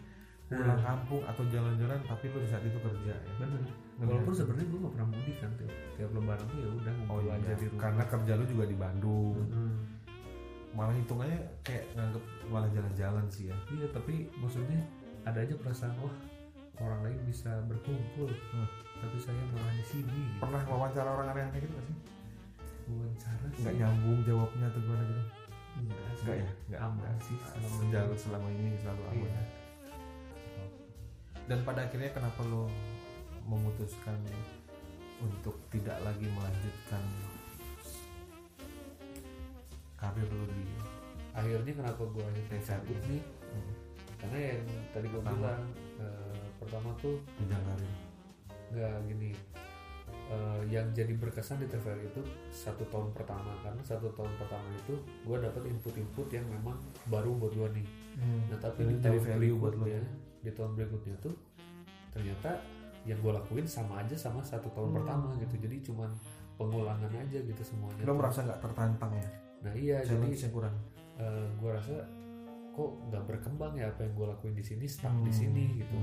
S1: pulang kampung atau jalan-jalan tapi lu di saat itu kerja ya
S2: bener
S1: Bener.
S2: walaupun sebenarnya gua gak pernah mudik kan tiap, tiap lebaran tuh ya udah
S1: Oh
S2: ngumpul
S1: iya,
S2: aja di rumah Hmm.
S1: karena kerja lu juga di Bandung.
S2: Mm-mm.
S1: Malah hitungannya kayak nganggep malah jalan-jalan sih ya.
S2: iya tapi maksudnya ada aja perasaan wah orang lain bisa berkumpul
S1: Hmm.
S2: tapi saya malah di sini gitu.
S1: Pernah wawancara orang aneh kayak gitu gak sih?
S2: wawancara sih
S1: Nggak nyambung jawabnya atau gimana gitu?
S2: Enggak sih.
S1: Enggak ya? Nggak.
S2: Aman sih selama ini.
S1: Sejauh selama ini selalu aman.
S2: Iya.
S1: Dan pada akhirnya kenapa lo memutuskan untuk tidak lagi melanjutkan karir lo di
S2: akhirnya kenapa gue akhirnya cabut nih
S1: hmm,
S2: karena yang tadi gue
S1: Pertama.
S2: bilang eh, pertama tuh
S1: bidang karir?
S2: nggak gini eh, yang jadi berkesan di TVRI itu satu tahun pertama karena satu tahun pertama itu gue dapat input-input yang memang baru buat gue nih
S1: Hmm.
S2: nah tapi
S1: Ini
S2: di
S1: jadi
S2: tahun
S1: value buat lo. ya?
S2: berikutnya di tahun berikutnya tuh ternyata yang gue lakuin sama aja sama satu tahun
S1: Hmm.
S2: pertama gitu jadi cuman pengulangan aja gitu semuanya
S1: Lo
S2: tuh.
S1: merasa nggak tertantang ya?
S2: nah iya jadi
S1: Challenge yang kurang.
S2: eh, gua rasa kok nggak berkembang ya apa yang gue lakuin di sini stuck di sini gitu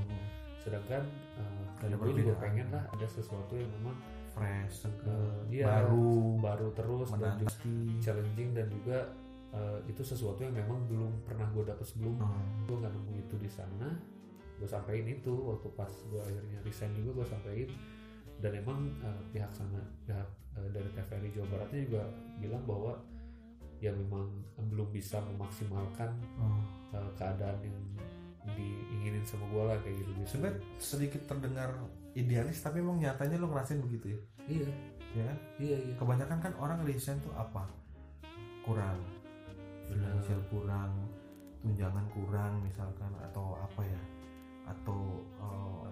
S2: sedangkan eh,
S1: Hmm. Ada
S2: gue juga
S1: perbedaan.
S2: pengen lah ada sesuatu yang memang
S1: fresh seger
S2: eh, iya,
S1: Hmm. baru
S2: baru terus dan juga
S1: menanti
S2: challenging dan juga eh, itu sesuatu yang memang belum pernah gue dapet sebelum
S1: Hmm.
S2: gue nggak nemu itu di sana gue sampein itu waktu pas gue akhirnya resign juga gue sampein dan emang eh, pihak sana pihak eh, dari TVRI Jawa Baratnya juga bilang bahwa ya memang belum bisa memaksimalkan
S1: Hmm.
S2: eh, keadaan yang diinginin sama gue lah kayak gitu gitu
S1: sebenarnya sedikit terdengar idealis tapi emang nyatanya lo ngerasain begitu ya
S2: iya
S1: ya kan?
S2: iya iya
S1: kebanyakan kan orang resign tuh apa kurang finansial
S2: Iya.
S1: kurang tunjangan kurang misalkan atau apa ya atau eh,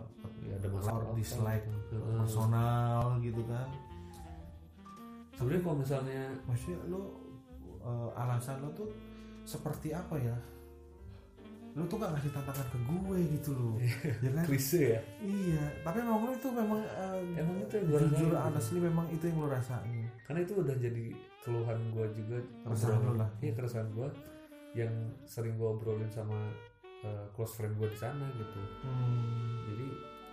S2: Ya, ada masalah
S1: or dislike
S2: Heeh.
S1: personal gitu kan
S2: sebenarnya kalau misalnya
S1: maksudnya lo eh, alasan lo tuh seperti apa ya lo tuh gak ngasih tantangan ke gue gitu loh ya kan
S2: klise ya
S1: iya tapi emang lo itu memang eh,
S2: Emang itu yang gue
S1: jujur
S2: rasain.
S1: honestly memang itu yang lo rasain
S2: karena itu udah jadi keluhan gue juga
S1: Keresahan
S2: Obrolan-
S1: lu lah.
S2: iya keresahan gue yang sering gue obrolin sama eh, close friend gue di sana gitu
S1: hmm.
S2: jadi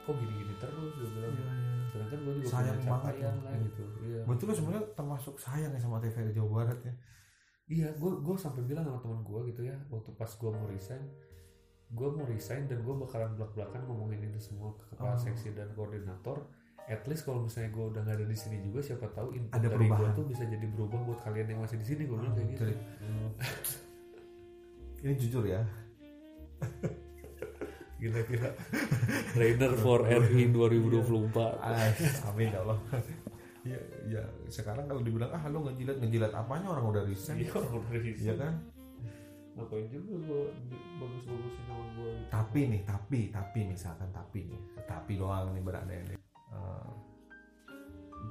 S2: kok gini-gini terus gue bilang
S1: iya, iya.
S2: sedangkan gue juga
S1: Sayang
S2: punya
S1: banget
S2: capaian
S1: ya.
S2: lah gitu iya
S1: Berarti lo sebenarnya termasuk sayang ya sama TVRI Jawa Barat ya?
S2: iya gue gue sampai bilang sama teman gue gitu ya waktu pas gue mau resign gue mau resign dan gue bakalan belak belakan ngomongin ini semua ke
S1: Oh.
S2: kepala seksi dan koordinator at least kalau misalnya gue udah gak ada di sini juga siapa tahu input
S1: Ada
S2: dari gue
S1: perubahan. Oh,
S2: tuh bisa jadi berubah buat kalian yang masih di sini gue bilang kayak gitu
S1: Jadi- Ini jujur ya.
S2: Gila-gila Trainer for RI 2024
S1: Ay, amin ya Allah. ya, ya, sekarang kalau dibilang ah lo ngejilat ngejilat apanya orang udah resign,
S2: Iya orang udah
S1: ya
S2: resign
S1: kan?
S2: Ngapain juga gue bagus-bagusin gitu. nama gue
S1: Tapi nih, tapi, tapi misalkan tapi nih, tapi doang nih berandai-andai. Eh,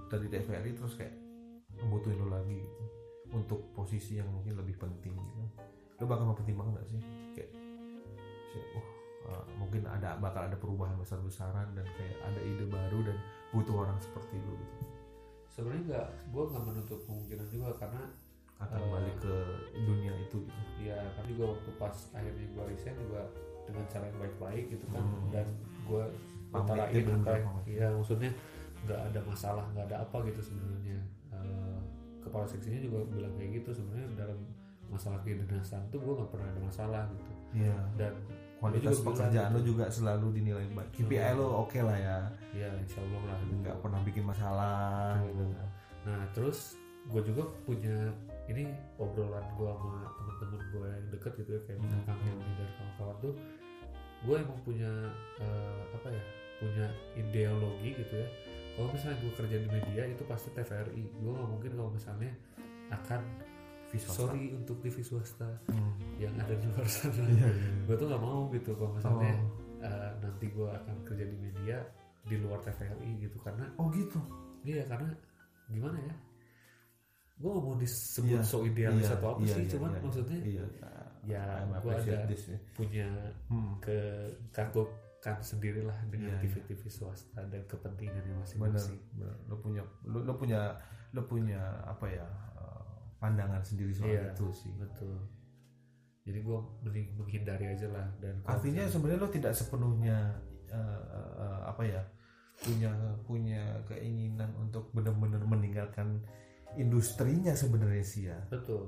S1: dari TVRI terus kayak ngebutuhin lo lagi gitu untuk posisi yang mungkin lebih penting gitu. Lo bakal mempertimbangkan nggak sih? Kayak, kayak, wah, eh, mungkin ada bakal ada perubahan besar-besaran dan kayak ada ide baru dan butuh orang seperti lo gitu.
S2: Sebenernya gak, gue gak menutup kemungkinan juga Karena
S1: akan
S2: Eh.
S1: balik ke dunia itu gitu.
S2: ya kan juga waktu pas akhirnya gue resign juga dengan cara yang baik-baik gitu kan
S1: Hmm.
S2: Dan gue
S1: Pamit
S2: utarain
S1: ya, bener-bener
S2: apa yang-
S1: pamit.
S2: Iya maksudnya gak ada masalah, gak ada apa gitu sebenarnya Eh, Kepala seksinya juga bilang kayak gitu sebenarnya dalam masalah kedinasan tuh gue gak pernah ada masalah gitu
S1: Iya.
S2: dan
S1: Kualitas
S2: Lu juga gitu.
S1: pekerjaan
S2: bilang
S1: lo juga selalu dinilai baik. KPI lo oke lah ya,
S2: ya insya Allah lah
S1: nggak pernah bikin masalah.
S2: Betul.
S1: gitu.
S2: nah terus gue juga punya ini obrolan gue sama teman-teman gue yang deket gitu ya kayak
S1: Hmm.
S2: misalkan Helmi dan kawan-kawan tuh gue emang punya eh, apa ya punya ideologi gitu ya kalau misalnya gue kerja di media itu pasti TVRI gue nggak mungkin kalau misalnya akan
S1: Visual
S2: sorry untuk TV swasta
S1: Hmm.
S2: yang ada di luar sana
S1: Iya, iya.
S2: gue tuh nggak mau gitu kalau
S1: Oh.
S2: misalnya eh, nanti gue akan kerja di media di luar TVRI gitu karena
S1: oh gitu.
S2: Iya karena gimana ya? Gue gak mau disebut
S1: Iya,
S2: so idealis
S1: Iya,
S2: atau apa
S1: iya,
S2: sih,
S1: iya,
S2: cuman
S1: iya.
S2: maksudnya
S1: Iya.
S2: ya
S1: I'm
S2: gue ada
S1: appreciate this ya.
S2: punya
S1: Hmm.
S2: kekagukan sendirilah
S1: Iya,
S2: dengan
S1: iya.
S2: TV-TV swasta dan kepentingannya
S1: Bener,
S2: masing-masing.
S1: bener. Lo punya, lo, lo punya, lo punya apa ya? eh, pandangan sendiri soal
S2: Iya.
S1: itu sih.
S2: Betul. Jadi gue mending menghindari aja lah dan kalau
S1: Artinya
S2: misalnya-
S1: sebenarnya lo tidak sepenuhnya eh, eh, apa ya punya punya keinginan untuk benar-benar meninggalkan industrinya sebenarnya sih ya.
S2: betul.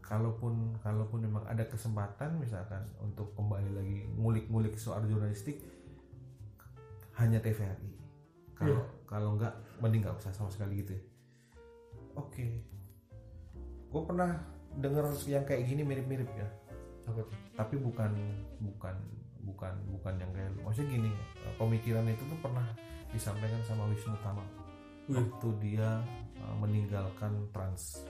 S1: Kalaupun kalaupun memang ada kesempatan misalkan untuk kembali lagi ngulik-ngulik soal jurnalistik hanya TVRI. Kalau kalau nggak mending nggak usah sama sekali gitu. ya. Oke. Gue pernah dengar yang kayak gini mirip-mirip ya
S2: Apa tuh?
S1: tapi bukan bukan bukan bukan yang kayak lu. maksudnya gini eh, pemikiran itu tuh pernah disampaikan sama Wisnu Tama
S2: Wih.
S1: waktu dia uh, meninggalkan trans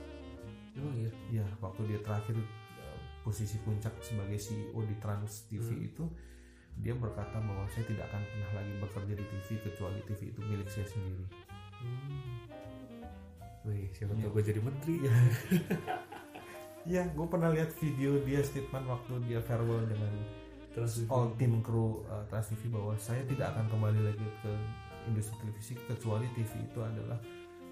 S2: Emang iya.
S1: ya waktu dia terakhir uh, posisi puncak sebagai CEO di Trans TV itu dia berkata bahwa saya tidak akan pernah lagi bekerja di TV kecuali TV itu milik saya sendiri
S2: Hmm. Wih, siapa tau gue jadi menteri.
S1: Iya. Iya, gue pernah lihat video dia statement waktu dia farewell dengan
S2: Terus
S1: all tim kru uh, Trans TV bahwa saya tidak akan kembali lagi ke industri televisi kecuali TV itu adalah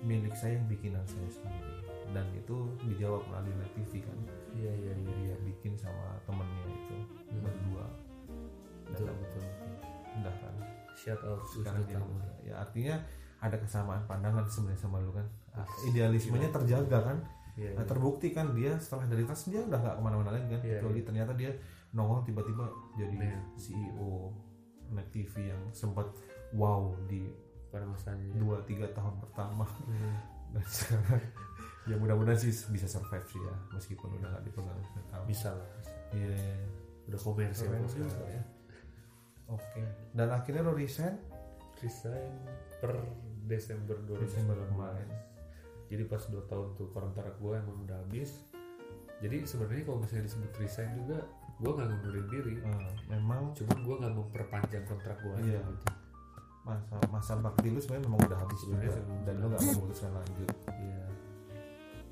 S1: milik saya yang bikinan saya sendiri dan itu dijawab melalui TV kan
S2: iya iya iya
S1: dia bikin sama temennya itu berdua dan
S2: betul betul
S1: udah kan
S2: shout out to
S1: sekarang jadi
S2: kamu
S1: muda. ya artinya ada kesamaan pandangan sebenarnya sama lu kan Ah, idealismenya terjaga kan
S2: iya
S1: Nah, terbukti kan dia setelah dari tas dia udah nggak kemana-mana lagi kan
S2: Iya,
S1: kecuali ternyata dia nongol tiba-tiba jadi E
S2: Iya.
S1: CEO Net TV yang sempat wow di
S2: pada masanya ya.
S1: dua tiga tahun pertama
S2: Hmm.
S1: dan sekarang ya mudah-mudahan sih bisa survive sih ya meskipun udah nggak dipegang Net Town.
S2: bisa lah bisa.
S1: Iya.
S2: udah komersial
S1: Keren
S2: sekarang.
S1: juga ya. Oke. Dan akhirnya lo resign
S2: resign per Desember 2019
S1: Desember kemarin.
S2: jadi pas 2 tahun tuh kontrak gue emang udah habis jadi sebenarnya kalau misalnya disebut resign juga gue nggak ngundurin diri
S1: Eh, memang
S2: cuman gue nggak memperpanjang kontrak gue aja
S1: Iya.
S2: gitu
S1: masa masa bakti lu sebenarnya memang udah habis juga
S2: Sebenarnya sebelum-
S1: dan lo nggak memutuskan lanjut.
S2: Iya.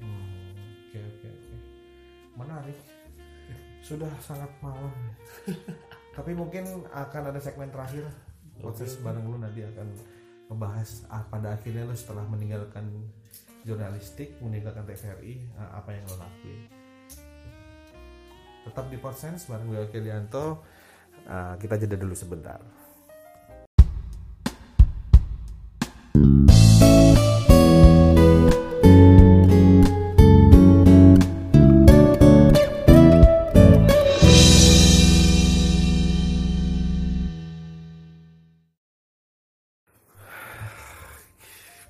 S1: Hmm, Oke oke oke. Menarik. Sudah sangat malam. Tapi mungkin akan ada segmen terakhir proses bareng lu nanti akan membahas ah, pada akhirnya lu setelah meninggalkan jurnalistik, meninggalkan TVRI, ah, apa yang lo lakuin. Tetap di Porsense bareng gue Kelianto. kita jeda dulu sebentar.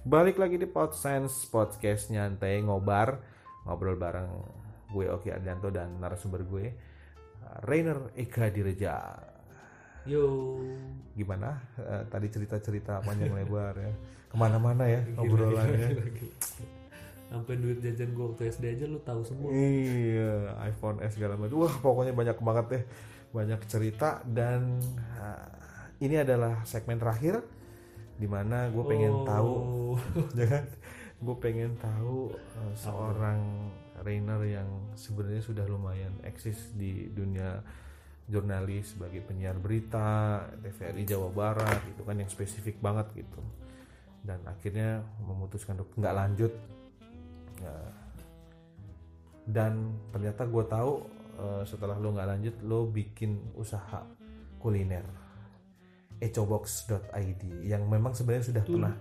S1: Balik lagi di Podsense Podcast Nyantai Ngobar Ngobrol bareng gue Oki Adianto dan narasumber gue Rainer Eka Direja
S2: Yo.
S1: Gimana? Eh, tadi cerita-cerita panjang lebar ya Kemana-mana ya obrolannya
S2: Sampai duit jajan gue waktu SD aja lu tahu semua.
S1: Iya iPhone S segala macam Wah pokoknya banyak banget deh Banyak cerita dan eh, ini adalah segmen terakhir Dimana gue pengen
S2: Oh.
S1: tahu jangan gue Ya kan? pengen tahu uh, seorang Rainer yang sebenarnya sudah lumayan eksis di dunia jurnalis sebagai penyiar berita TVRI Jawa Barat itu kan yang spesifik banget gitu dan akhirnya memutuskan untuk nggak lanjut Nah, dan ternyata gue tahu uh, setelah lo nggak lanjut lo bikin usaha kuliner ecobox.id yang memang sebenarnya sudah pernah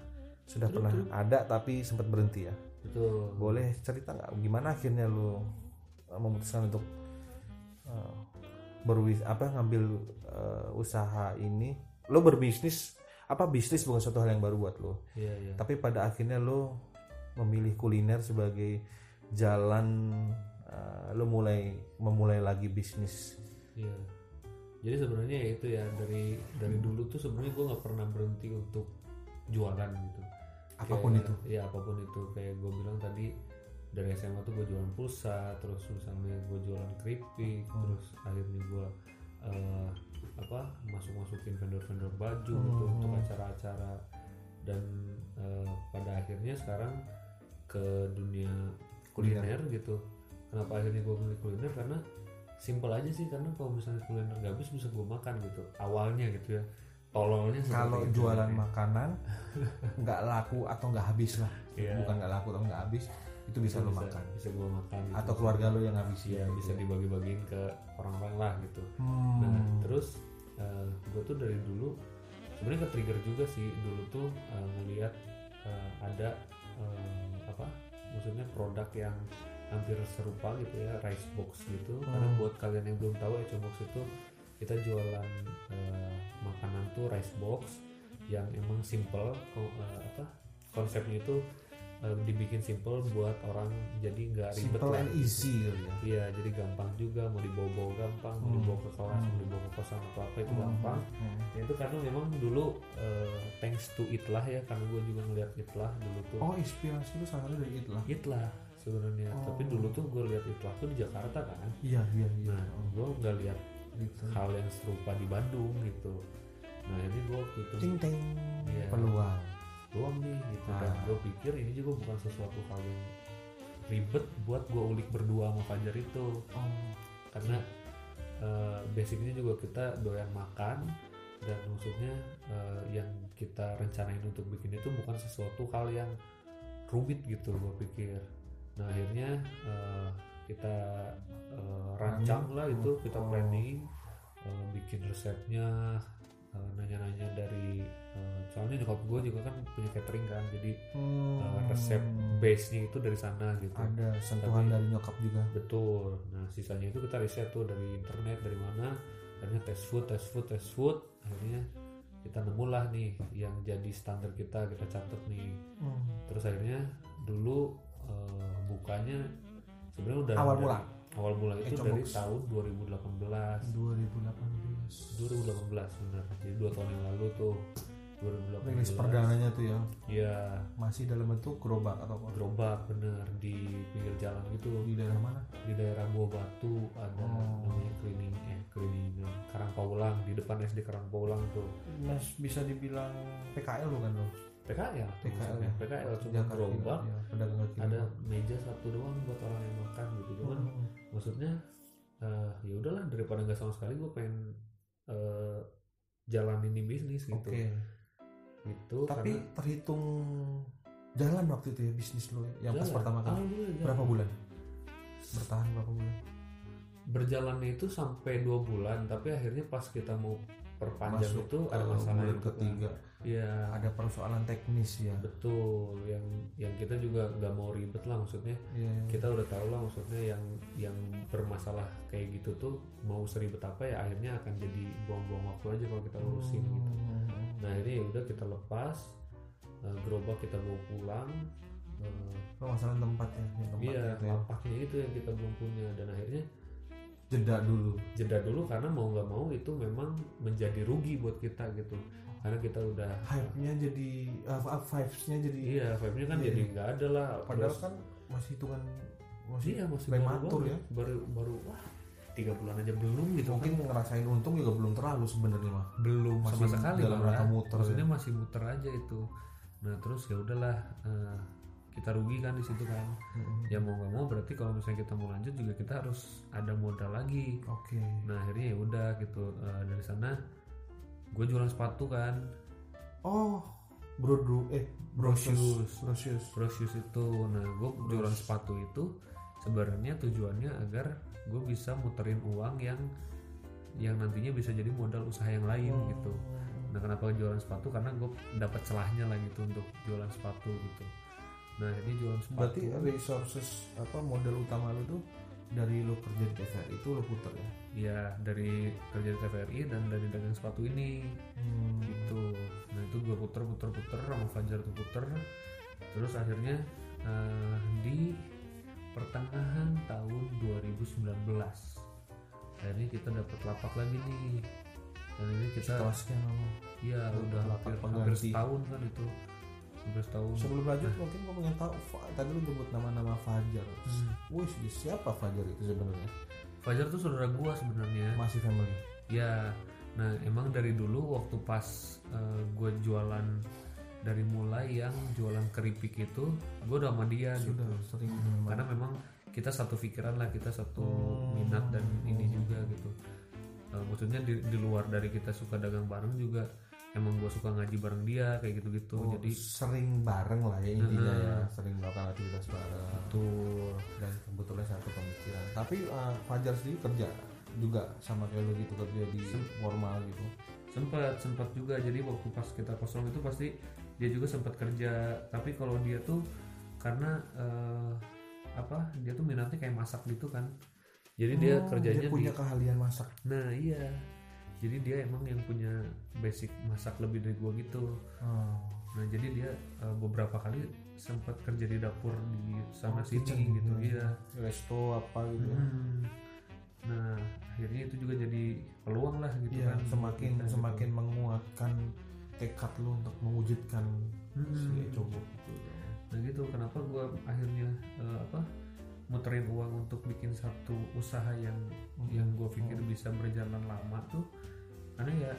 S1: sudah pernah ada tapi sempat berhenti ya
S2: Betul.
S1: boleh cerita nggak gimana akhirnya lu uh, memutuskan untuk uh, berwis apa ngambil uh, usaha ini lo berbisnis apa bisnis bukan suatu hal yang baru buat lo
S2: Iya iya.
S1: tapi pada akhirnya lo memilih kuliner sebagai jalan uh, lo mulai memulai lagi bisnis
S2: Iya. Jadi sebenarnya ya itu ya dari dari
S1: Hmm.
S2: dulu tuh sebenarnya gue nggak pernah berhenti untuk jualan gitu.
S1: apapun
S2: Kayak-
S1: itu
S2: Iya apapun itu kayak gue bilang tadi dari SMA tuh gue jualan pulsa, terus misalnya gue jualan
S1: Hmm.
S2: keripik, terus akhirnya gue eh, apa masuk masukin vendor vendor baju
S1: Hmm,
S2: gitu untuk acara-acara dan eh, pada akhirnya sekarang ke dunia kuliner,
S1: Iya.
S2: gitu. Kenapa akhirnya gue milih kuliner karena simple aja sih karena kalau misalnya kuliner nggak habis bisa gue makan gitu awalnya gitu ya tololnya seperti
S1: kalau
S2: itu.
S1: jualan makanan nggak laku atau nggak habis lah
S2: Iya.
S1: bukan nggak laku atau nggak habis itu bisa lo makan
S2: bisa gue makan gitu.
S1: atau keluarga lo yang habisin
S2: ya bisa dibagi-bagiin ke orang lain lah gitu
S1: Hmm.
S2: nah terus gue tuh dari dulu sebenarnya ke trigger juga sih dulu tuh eh, ngelihat eh, ada eh, apa maksudnya produk yang hampir serupa gitu ya rice box gitu
S1: Hmm.
S2: karena buat kalian yang belum tahu Echo box itu kita jualan eh, makanan tuh rice box yang emang simple ko- eh, apa konsepnya itu eh, dibikin simple buat orang jadi nggak ribet
S1: simple
S2: lah gitu.
S1: and easy kali ya
S2: Iya, jadi gampang juga mau dibawa-bawa gampang,
S1: Hmm.
S2: mau dibawa ke kelas, mau dibawa ke kosan atau apa itu gampang. Ya, itu karena memang dulu eh, thanks to itlah ya, karena gue juga ngeliat itlah dulu tuh.
S1: oh inspirasi lu salah satu dari itu lah
S2: Itlah sebenarnya, tapi dulu tuh gue lihat itlah tuh di Jakarta kan.
S1: iya iya iya
S2: Nah, gue nggak lihat
S1: gitu
S2: hal yang serupa di Bandung gitu. Nah ini gue waktu itu
S1: ting Ah. ting
S2: Iya.
S1: peluang
S2: doang nih gitu dan gue pikir ini juga bukan sesuatu hal yang ribet buat gue ulik berdua sama Fajar itu
S1: oh
S2: karena eh, basicnya juga kita doyan makan dan maksudnya eh, yang kita rencanain untuk bikin itu bukan sesuatu hal yang rumit gitu gue pikir nah akhirnya eh, kita eh, rancang lah itu kita planning eh, bikin resepnya eh, nanya-nanya dari eh, soalnya nyokap gue juga kan punya catering kan jadi eh, resep base nya itu dari sana gitu
S1: Hmm. ada sentuhan
S2: Tapi-
S1: dari nyokap juga
S2: Betul. Nah, sisanya itu kita riset tuh dari internet, dari mana. Akhirnya test food, test food, test food. Akhirnya kita nemulah nih yang jadi standar kita, kita catat nih.
S1: Hmm.
S2: Terus akhirnya dulu eh, bukanya sebenarnya udah
S1: Awal
S2: dari-
S1: mula.
S2: Awal mula itu
S1: Eco
S2: dari
S1: Box.
S2: tahun 2018.
S1: 2018
S2: 2018 benar. Jadi dua tahun yang lalu tuh 2018.
S1: rilis perdananya tuh ya
S2: Iya,
S1: masih dalam bentuk gerobak atau apa
S2: gerobak bener di pinggir jalan gitu.
S1: di daerah mana
S2: di daerah Gua Batu ada
S1: Oh.
S2: namanya cleaning eh cleaning Karangpaulang di depan SD Karangpaulang tuh
S1: Mas bisa dibilang PKL bukan lo
S2: PKL
S1: PKL
S2: maksudnya. PKL cuma
S1: Jakarta
S2: gerobak
S1: ya, pedagang kaki
S2: ada
S1: lima.
S2: meja satu doang buat orang yang makan gitu cuman
S1: Hmm.
S2: maksudnya eh, ya udahlah daripada nggak sama sekali gue pengen eh, jalanin ini bisnis gitu
S1: oke
S2: gitu
S1: tapi
S2: karena-
S1: terhitung jalan waktu itu ya bisnis lo ya, yang pas
S2: Jalan. Iya.
S1: pertama kali
S2: Alhamdulillah, jalan.
S1: berapa bulan bertahan berapa bulan
S2: berjalannya itu sampai dua bulan tapi akhirnya pas kita mau perpanjang
S1: Masuk
S2: itu ada
S1: ke
S2: masalah
S1: bulan
S2: itu kan.
S1: ketiga
S2: Iya.
S1: ada persoalan teknis ya
S2: betul yang yang kita juga nggak mau ribet lah maksudnya
S1: Iya, iya.
S2: kita udah tahu lah maksudnya yang yang bermasalah kayak gitu tuh mau seribet apa ya akhirnya akan jadi buang-buang waktu aja kalau kita lurusin gitu
S1: Hmm.
S2: nah akhirnya ya udah kita lepas eh, gerobak kita bawa pulang Eh,
S1: permasalahan tempat ya yang tempat
S2: iya
S1: itu ya.
S2: lapaknya itu yang kita belum punya dan akhirnya
S1: jeda dulu
S2: jeda dulu karena mau nggak mau itu memang menjadi rugi buat kita gitu karena kita udah
S1: hype nya jadi uh, vibes nya jadi
S2: iya vibe-nya kan
S1: Iya,
S2: jadi
S1: iya.
S2: nggak ada lah
S1: padahal
S2: Terus-
S1: kan masih hitungan masih
S2: Iya masih
S1: Prematur
S2: baru,
S1: ya.
S2: baru baru wah tiga bulan aja belum gitu
S1: mungkin
S2: kan
S1: ngerasain untung juga belum terlalu sebenarnya mah
S2: belum
S1: masih
S2: sama sekali
S1: dalam
S2: malah. ya.
S1: rangka muter ya.
S2: maksudnya masih muter aja itu nah terus ya udahlah eh, kita rugi kan di situ kan
S1: Mm-mm.
S2: ya mau nggak mau berarti kalau misalnya kita mau lanjut juga kita harus ada modal lagi
S1: oke
S2: nah akhirnya ya udah gitu Eh, dari sana gue jualan sepatu kan
S1: oh brodu eh brosus
S2: Brosus.
S1: brosus
S2: Pro shoes itu nah gue jualan sepatu itu sebenarnya tujuannya agar gue bisa muterin uang yang yang nantinya bisa jadi modal usaha yang lain
S1: Hmm.
S2: gitu nah kenapa jualan sepatu karena gue dapat celahnya lah gitu untuk jualan sepatu gitu nah ini jualan sepatu
S1: berarti resources apa modal utama lu tuh dari lu kerja di TVRI itu lu puter ya
S2: ya dari kerja di TVRI dan dari dagang sepatu ini
S1: Hmm.
S2: gitu nah itu gue puter puter puter sama Fajar tuh puter terus akhirnya eh, di pertengahan tahun 2019 akhirnya Nah, kita dapat lapak lagi nih dan ini kita
S1: setelah sekian lama
S2: ya udah
S1: lapak
S2: hampir, hampir
S1: pengganti.
S2: setahun kan itu hampir setahun
S1: sebelum lanjut mungkin gue pengen tahu Fa- tadi lu nyebut nama-nama Fajar wih siapa Fajar itu sebenarnya
S2: Fajar tuh saudara gua sebenarnya
S1: masih family
S2: Ya, nah emang dari dulu waktu pas gue jualan dari mulai yang jualan keripik itu gue udah sama dia
S1: sudah
S2: gitu.
S1: sering memang.
S2: Karena memang kita satu pikiran lah, kita satu minat dan
S1: Hmm.
S2: ini juga gitu. Eh, maksudnya di, di luar dari kita suka dagang bareng juga emang gue suka ngaji bareng dia kayak gitu-gitu. gitu.
S1: Oh,
S2: Jadi
S1: sering bareng lah ya intinya ya sering melakukan aktivitas bareng
S2: tuh
S1: dan kebetulan satu pemikiran tapi eh, Fajar sendiri kerja juga sama kayak lu gitu kerja di formal gitu
S2: sempat sempat juga jadi waktu pas kita kosong itu pasti dia juga sempat kerja tapi kalau dia tuh karena eh, apa dia tuh minatnya kayak masak gitu kan jadi dia
S1: Oh,
S2: kerjanya
S1: dia punya
S2: di
S1: keahlian masak
S2: nah iya jadi dia emang yang punya basic masak lebih dari gua gitu
S1: Oh,
S2: nah jadi dia eh, beberapa kali sempat kerja di dapur di
S1: Oh,
S2: sana sini
S1: kitchen.
S2: gitu
S1: Hmm.
S2: iya
S1: resto apa gitu ya.
S2: Hmm. nah akhirnya itu juga jadi peluang lah gitu
S1: Iya,
S2: kan
S1: semakin
S2: Kita gitu.
S1: semakin menguatkan tekad lu untuk mewujudkan si
S2: Hmm.
S1: coba
S2: Nah gitu kenapa gue akhirnya eh, apa muterin uang untuk bikin satu usaha yang yang gue pikir
S1: Hmm.
S2: bisa berjalan lama tuh karena ya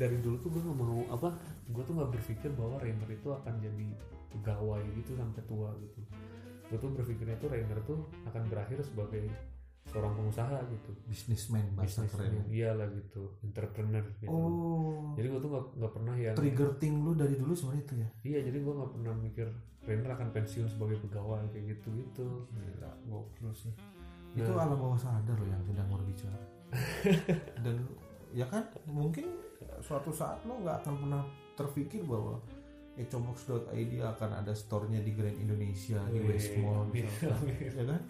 S2: dari dulu tuh gue nggak mau apa gue tuh nggak berpikir bahwa Rainer itu akan jadi pegawai gitu sampai tua gitu gue tuh berpikirnya tuh Rainer tuh akan berakhir sebagai seorang pengusaha gitu
S1: Businessman bahasa
S2: Businessman.
S1: keren.
S2: iya lah gitu entrepreneur gitu
S1: Oh.
S2: jadi gue tuh nggak nggak pernah yang
S1: Trigger thing lu dari dulu sebenarnya itu ya.
S2: iya jadi gue nggak pernah mikir trainer akan pensiun sebagai pegawai kayak gitu gitu
S1: Gila, gokil sih.
S2: Nah.
S1: Itu alam bawah sadar loh yang sedang berbicara. Dan ya kan mungkin suatu saat lo nggak akan pernah terpikir bahwa ecobox.id akan ada store-nya di Grand Indonesia di
S2: Wih,
S1: West Mall
S2: amin,
S1: misalkan.
S2: amin.
S1: ya kan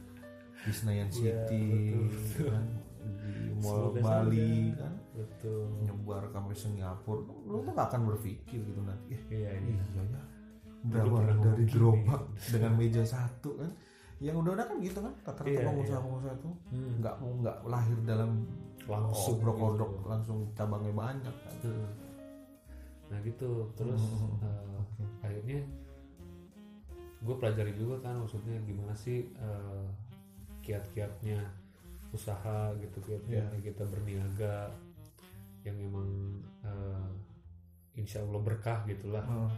S1: di Senayan
S2: Iya,
S1: City
S2: betul, betul.
S1: kan di Mall
S2: Semoga
S1: Bali
S2: saja.
S1: kan
S2: betul
S1: nyebar sampai Singapura Lo- lo tuh gak akan berpikir gitu nanti eh
S2: iya iya
S1: iya ya
S2: Dulu
S1: berawal
S2: pernah
S1: dari
S2: ngomong
S1: gerobak dengan meja satu kan yang udah-udah kan gitu kan
S2: Iya,
S1: rata-rata
S2: iya.
S1: pengusaha-pengusaha itu
S2: Hmm,
S1: nggak mau nggak lahir dalam
S2: langsung
S1: produk
S2: gitu.
S1: langsung cabangnya banyak kan
S2: Hmm. nah gitu terus
S1: Hmm.
S2: eh,
S1: Oke.
S2: akhirnya gue pelajari juga kan maksudnya gimana sih eh, kiat-kiatnya usaha gitu
S1: Iya.
S2: kiat-kiatnya kita berniaga yang emang eh, insya Allah berkah gitulah
S1: Hmm.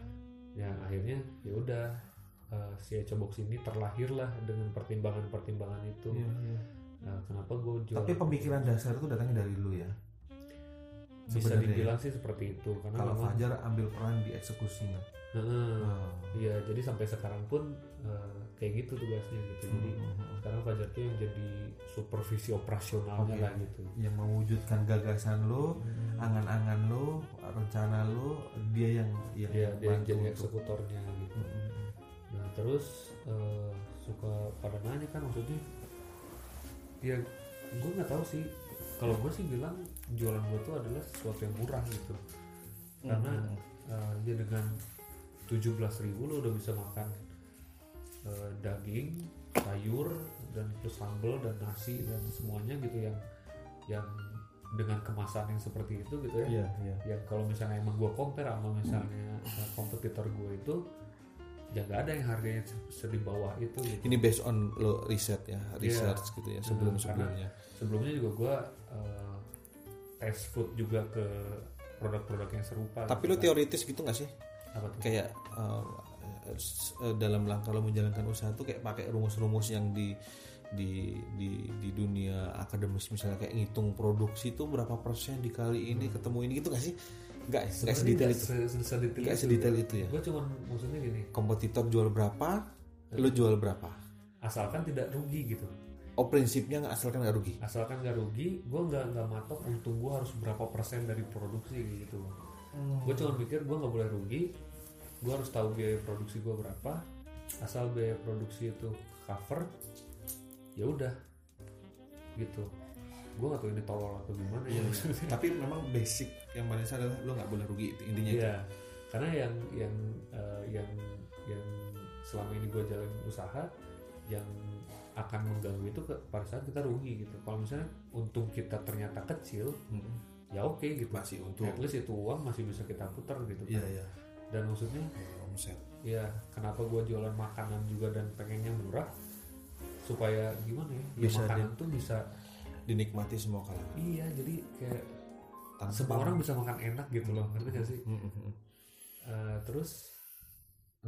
S2: ya akhirnya ya udah eh, si Eco Box ini terlahirlah dengan pertimbangan-pertimbangan itu
S1: Iya, iya.
S2: Nah, kenapa gue jual
S1: tapi pemikiran dasar itu datangnya dari lu ya
S2: bisa
S1: sebenarnya ya?
S2: dibilang sih seperti itu karena
S1: kalau
S2: memang
S1: Fajar ambil peran di eksekusinya
S2: Heeh.
S1: Hmm.
S2: Iya, jadi sampai sekarang pun eh, kayak gitu tugasnya gitu. Jadi
S1: Hmm.
S2: sekarang Fajar tuh yang jadi supervisi operasionalnya
S1: Oke.
S2: lah gitu.
S1: yang mewujudkan gagasan lo
S2: Hmm.
S1: angan-angan lo rencana lo dia yang yang
S2: Iya, Dia, dia yang
S1: bantu
S2: jadi
S1: untuk-
S2: eksekutornya gitu.
S1: iya, Mm-mm.
S2: Nah terus eh, suka pada nanya kan maksudnya, ya gue nggak tahu sih. Kalau gue sih bilang jualan gue tuh adalah sesuatu yang murah gitu. Karena eh, ya dengan 17.000 ribu lo udah bisa makan eh, daging, sayur, dan plus sambal dan nasi dan semuanya gitu yang yang dengan kemasan yang seperti itu gitu ya.
S1: Iya, iya.
S2: Ya kalau misalnya emang gue compare sama misalnya eh, kompetitor gue itu ya nggak ada yang harganya se- se- di bawah itu gitu.
S1: Ini based on lo riset ya, research
S2: Iya.
S1: gitu ya sebelum sebelumnya.
S2: Sebelumnya juga gue eh, tes food juga ke produk-produk yang serupa.
S1: Tapi lo
S2: gitu kan.
S1: teoritis gitu nggak sih?
S2: Apa tuh?
S1: Kayak eh, s- eh, dalam langkah lo menjalankan usaha tuh kayak pakai rumus-rumus yang di di di di dunia akademis misalnya kayak ngitung produksi tuh berapa persen dikali
S2: Hmm.
S1: ini ketemu ini gitu nggak sih? Nggak, nggak sedetail itu.
S2: Se- se- sedetail
S1: Nggak
S2: itu.
S1: sedetail itu ya.
S2: Gue cuman maksudnya gini,
S1: Kompetitor jual berapa,
S2: Iya.
S1: lo jual berapa?
S2: asalkan tidak rugi gitu.
S1: Oh prinsipnya nggak asalkan nggak rugi.
S2: Asalkan nggak rugi, gue nggak nggak matok untung gue harus berapa persen dari produksi gitu. Gue cuma mikir gue nggak boleh rugi, gue harus tahu biaya produksi gue berapa. Asal biaya produksi itu cover, ya udah gitu. Gue nggak tahu ini tolol atau gimana ya
S3: Iya.
S2: maksudnya.
S1: Tapi memang basic yang paling dasar adalah lo nggak boleh rugi itu intinya.
S2: Iya, karena yang yang eh, yang yang selama ini gue jalan usaha yang akan mengganggu itu ke pada saat kita rugi gitu. Kalau misalnya untung kita ternyata kecil,
S1: Mm.
S2: ya oke gitu.
S1: Masih untung.
S2: At least itu uang masih bisa kita putar gitu. kan.
S1: Iya iya.
S2: Dan maksudnya,
S1: Omset.
S2: ya kenapa gue jualan makanan juga dan pengennya murah supaya gimana ya? ya
S1: Bisa
S2: makanan tuh bisa
S1: dinikmati semua kalangan.
S2: iya jadi kayak
S1: Tanpa
S2: semua orang bisa makan enak gitu loh ngerti gak sih
S1: Mm-mm.
S2: Eh, terus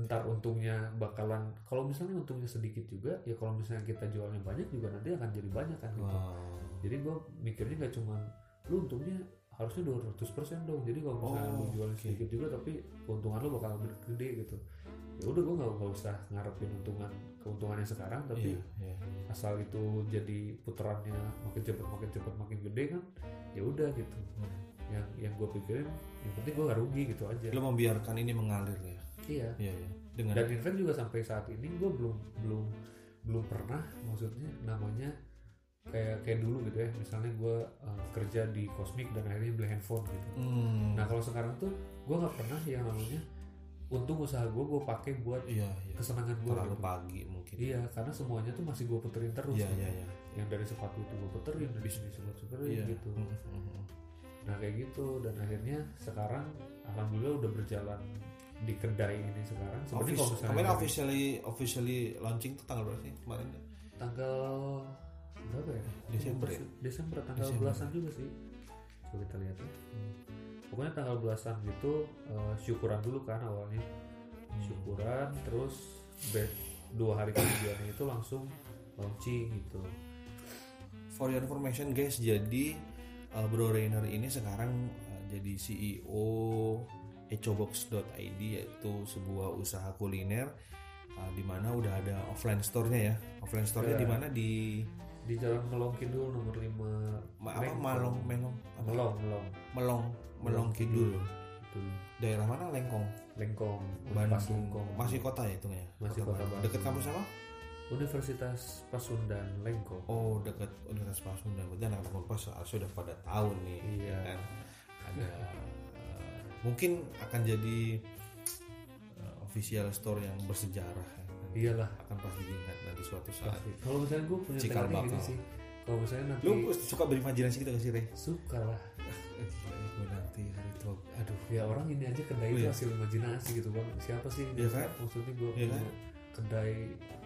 S2: ntar untungnya bakalan kalau misalnya untungnya sedikit juga ya kalau misalnya kita jualnya banyak juga nanti akan jadi banyak kan gitu.
S1: Wow.
S2: jadi gue mikirnya nggak cuman lu untungnya harusnya 200% dong jadi kalau misalnya
S1: Oh,
S2: lu jualnya
S1: oke.
S2: sedikit juga tapi keuntungan lu bakal gede gitu ya udah gue nggak nggak usah ngarepin untungan keuntungannya sekarang tapi
S1: Iya, iya.
S2: asal itu jadi putarannya makin cepet makin cepet makin gede kan ya udah gitu
S1: Hmm.
S2: yang yang gue pikirin yang penting gue gak rugi gitu aja
S1: iya. Lo membiarkan ini mengalir ya.
S2: iya
S1: Iya iya. Dengan
S2: dan in fact juga sampai saat ini gue belum belum belum pernah maksudnya namanya kayak kayak dulu gitu ya misalnya gue kerja di Cosmic dan akhirnya beli handphone gitu
S1: Hmm.
S2: nah kalau sekarang tuh gue nggak pernah yang namanya untung usaha gue gue pakai buat
S1: iya iya.
S2: kesenangan gue
S1: Terlalu
S2: gitu.
S1: pagi mungkin.
S2: iya karena semuanya tuh masih gue puterin terus
S1: Iya
S2: gitu.
S1: iya iya.
S2: yang dari sepatu itu gue puterin dari sini gue puterin
S1: Iya.
S2: gitu
S1: Mm-mm.
S2: nah kayak gitu dan akhirnya sekarang alhamdulillah udah berjalan di kedai ini sekarang sebenarnya kalau
S1: Office-
S2: misalnya
S1: Kemarin
S2: dari-
S1: officially officially launching tuh tanggal berapa sih kemarin?
S2: tanggal berapa ya?
S1: Desember ya?
S2: Desember tanggal
S1: Desember.
S2: belasan juga sih. Coba kita lihat ya. Pokoknya tanggal belasan gitu eh, syukuran dulu kan awalnya. Syukuran terus bed dua hari kemudian itu langsung launching gitu.
S3: for your information guys jadi uh, Bro Rainer ini sekarang uh, jadi CEO ecobox.id yaitu sebuah usaha kuliner uh, di mana udah ada offline store-nya ya offline store-nya
S2: Ya.
S3: di mana di
S2: di jalan Melong Kidul nomor 5
S3: ma- apa Malong Melong apa?
S2: Melong Hmm. Melong
S3: Melong Melong Kidul
S2: itu
S3: daerah mana Lengkong
S2: Lengkong Unpas
S3: Bandung
S2: Lengkong
S3: masih kota ya itu ya
S2: Hmm. Masih kota Bandung.
S3: deket kampus apa
S2: Universitas Pasundan Lengkong
S3: Oh dekat Universitas Pasundan berarti anak Unpas sudah pada tahun nih
S2: Iya.
S3: kan ada eh, mungkin akan jadi eh, official store yang bersejarah ya. Nanti
S2: iyalah
S3: akan pasti diingat nanti suatu saat
S2: pasti kalau misalnya gue punya
S3: Cikal
S2: tekadnya gini
S3: bakal.
S2: sih kalau misalnya nanti
S3: Iya. lu suka berimajinasi gitu gak sih Rey?
S2: suka lah
S3: gue nanti hari itu aduh
S2: ya orang ini aja kedai
S3: Oh,
S2: itu
S3: iya.
S2: hasil imajinasi gitu bang siapa sih yang
S3: Iya
S2: bisa-
S3: kan?
S2: maksudnya gue
S3: Iya
S2: punya
S3: kan?
S2: kedai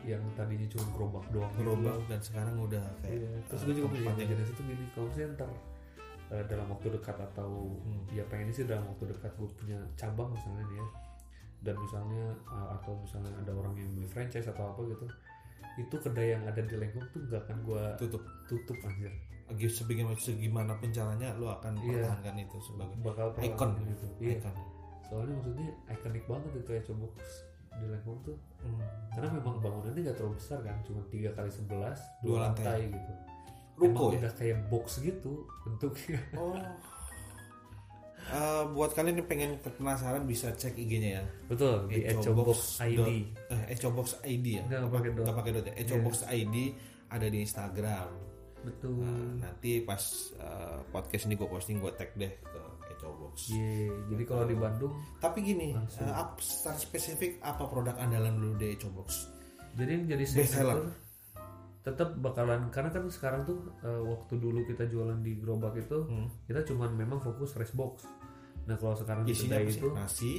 S2: yang tadinya cuma gerobak doang gitu.
S3: gerobak dan sekarang udah kayak
S2: Iya. terus gue juga punya
S3: tempat yang-
S2: imajinasi itu gini kalau misalnya ntar eh, dalam waktu dekat atau
S3: Hmm.
S2: ya pengennya sih dalam waktu dekat gue punya cabang misalnya nih ya dan misalnya eh, atau misalnya ada orang yang beli franchise atau apa gitu itu kedai yang ada di lengkong tuh gak akan gue
S3: tutup
S2: tutup anjir
S3: Agi- sebagaimana segimanapun caranya lu akan
S2: Iya.
S3: pertahankan itu sebagai
S2: bakal
S3: ikon
S2: perlahan
S3: gitu
S2: gitu iya
S3: Icon.
S2: soalnya maksudnya ikonik banget itu ya coba di lengkong tuh
S3: Hmm.
S2: karena memang bangunannya nggak terlalu besar kan cuma tiga kali sebelas
S3: Dua
S2: dua
S3: lantai.
S2: lantai, gitu
S3: ruko
S2: Emang
S3: ya
S2: udah kayak box gitu bentuknya
S3: Oh. Eh, buat kalian yang pengen penasaran bisa cek IG-nya ya.
S2: betul di ecobox
S3: Dot,
S2: ID
S3: eh, ecobox ID ya.
S2: Nggak, nggak pakai dot. Iya.
S3: Nggak pakai dot ya. Ecobox ID ada di Instagram.
S2: betul
S3: Nah, nanti pas eh, podcast ini gue posting gue tag deh ke ecobox.
S2: Ye, jadi kalau di Bandung
S3: Tapi gini,
S2: Iya. Langsung.
S3: eh, ap- secara spesifik apa produk andalan dulu di ecobox?
S2: jadi yang jadi
S3: Bestseller.
S2: signature tetap bakalan karena kan sekarang tuh eh, waktu dulu kita jualan di gerobak itu
S3: Hmm.
S2: kita cuman memang fokus rice box nah kalau sekarang di
S3: Isinya
S2: kedai
S3: apa sih?
S2: itu
S3: Nasi,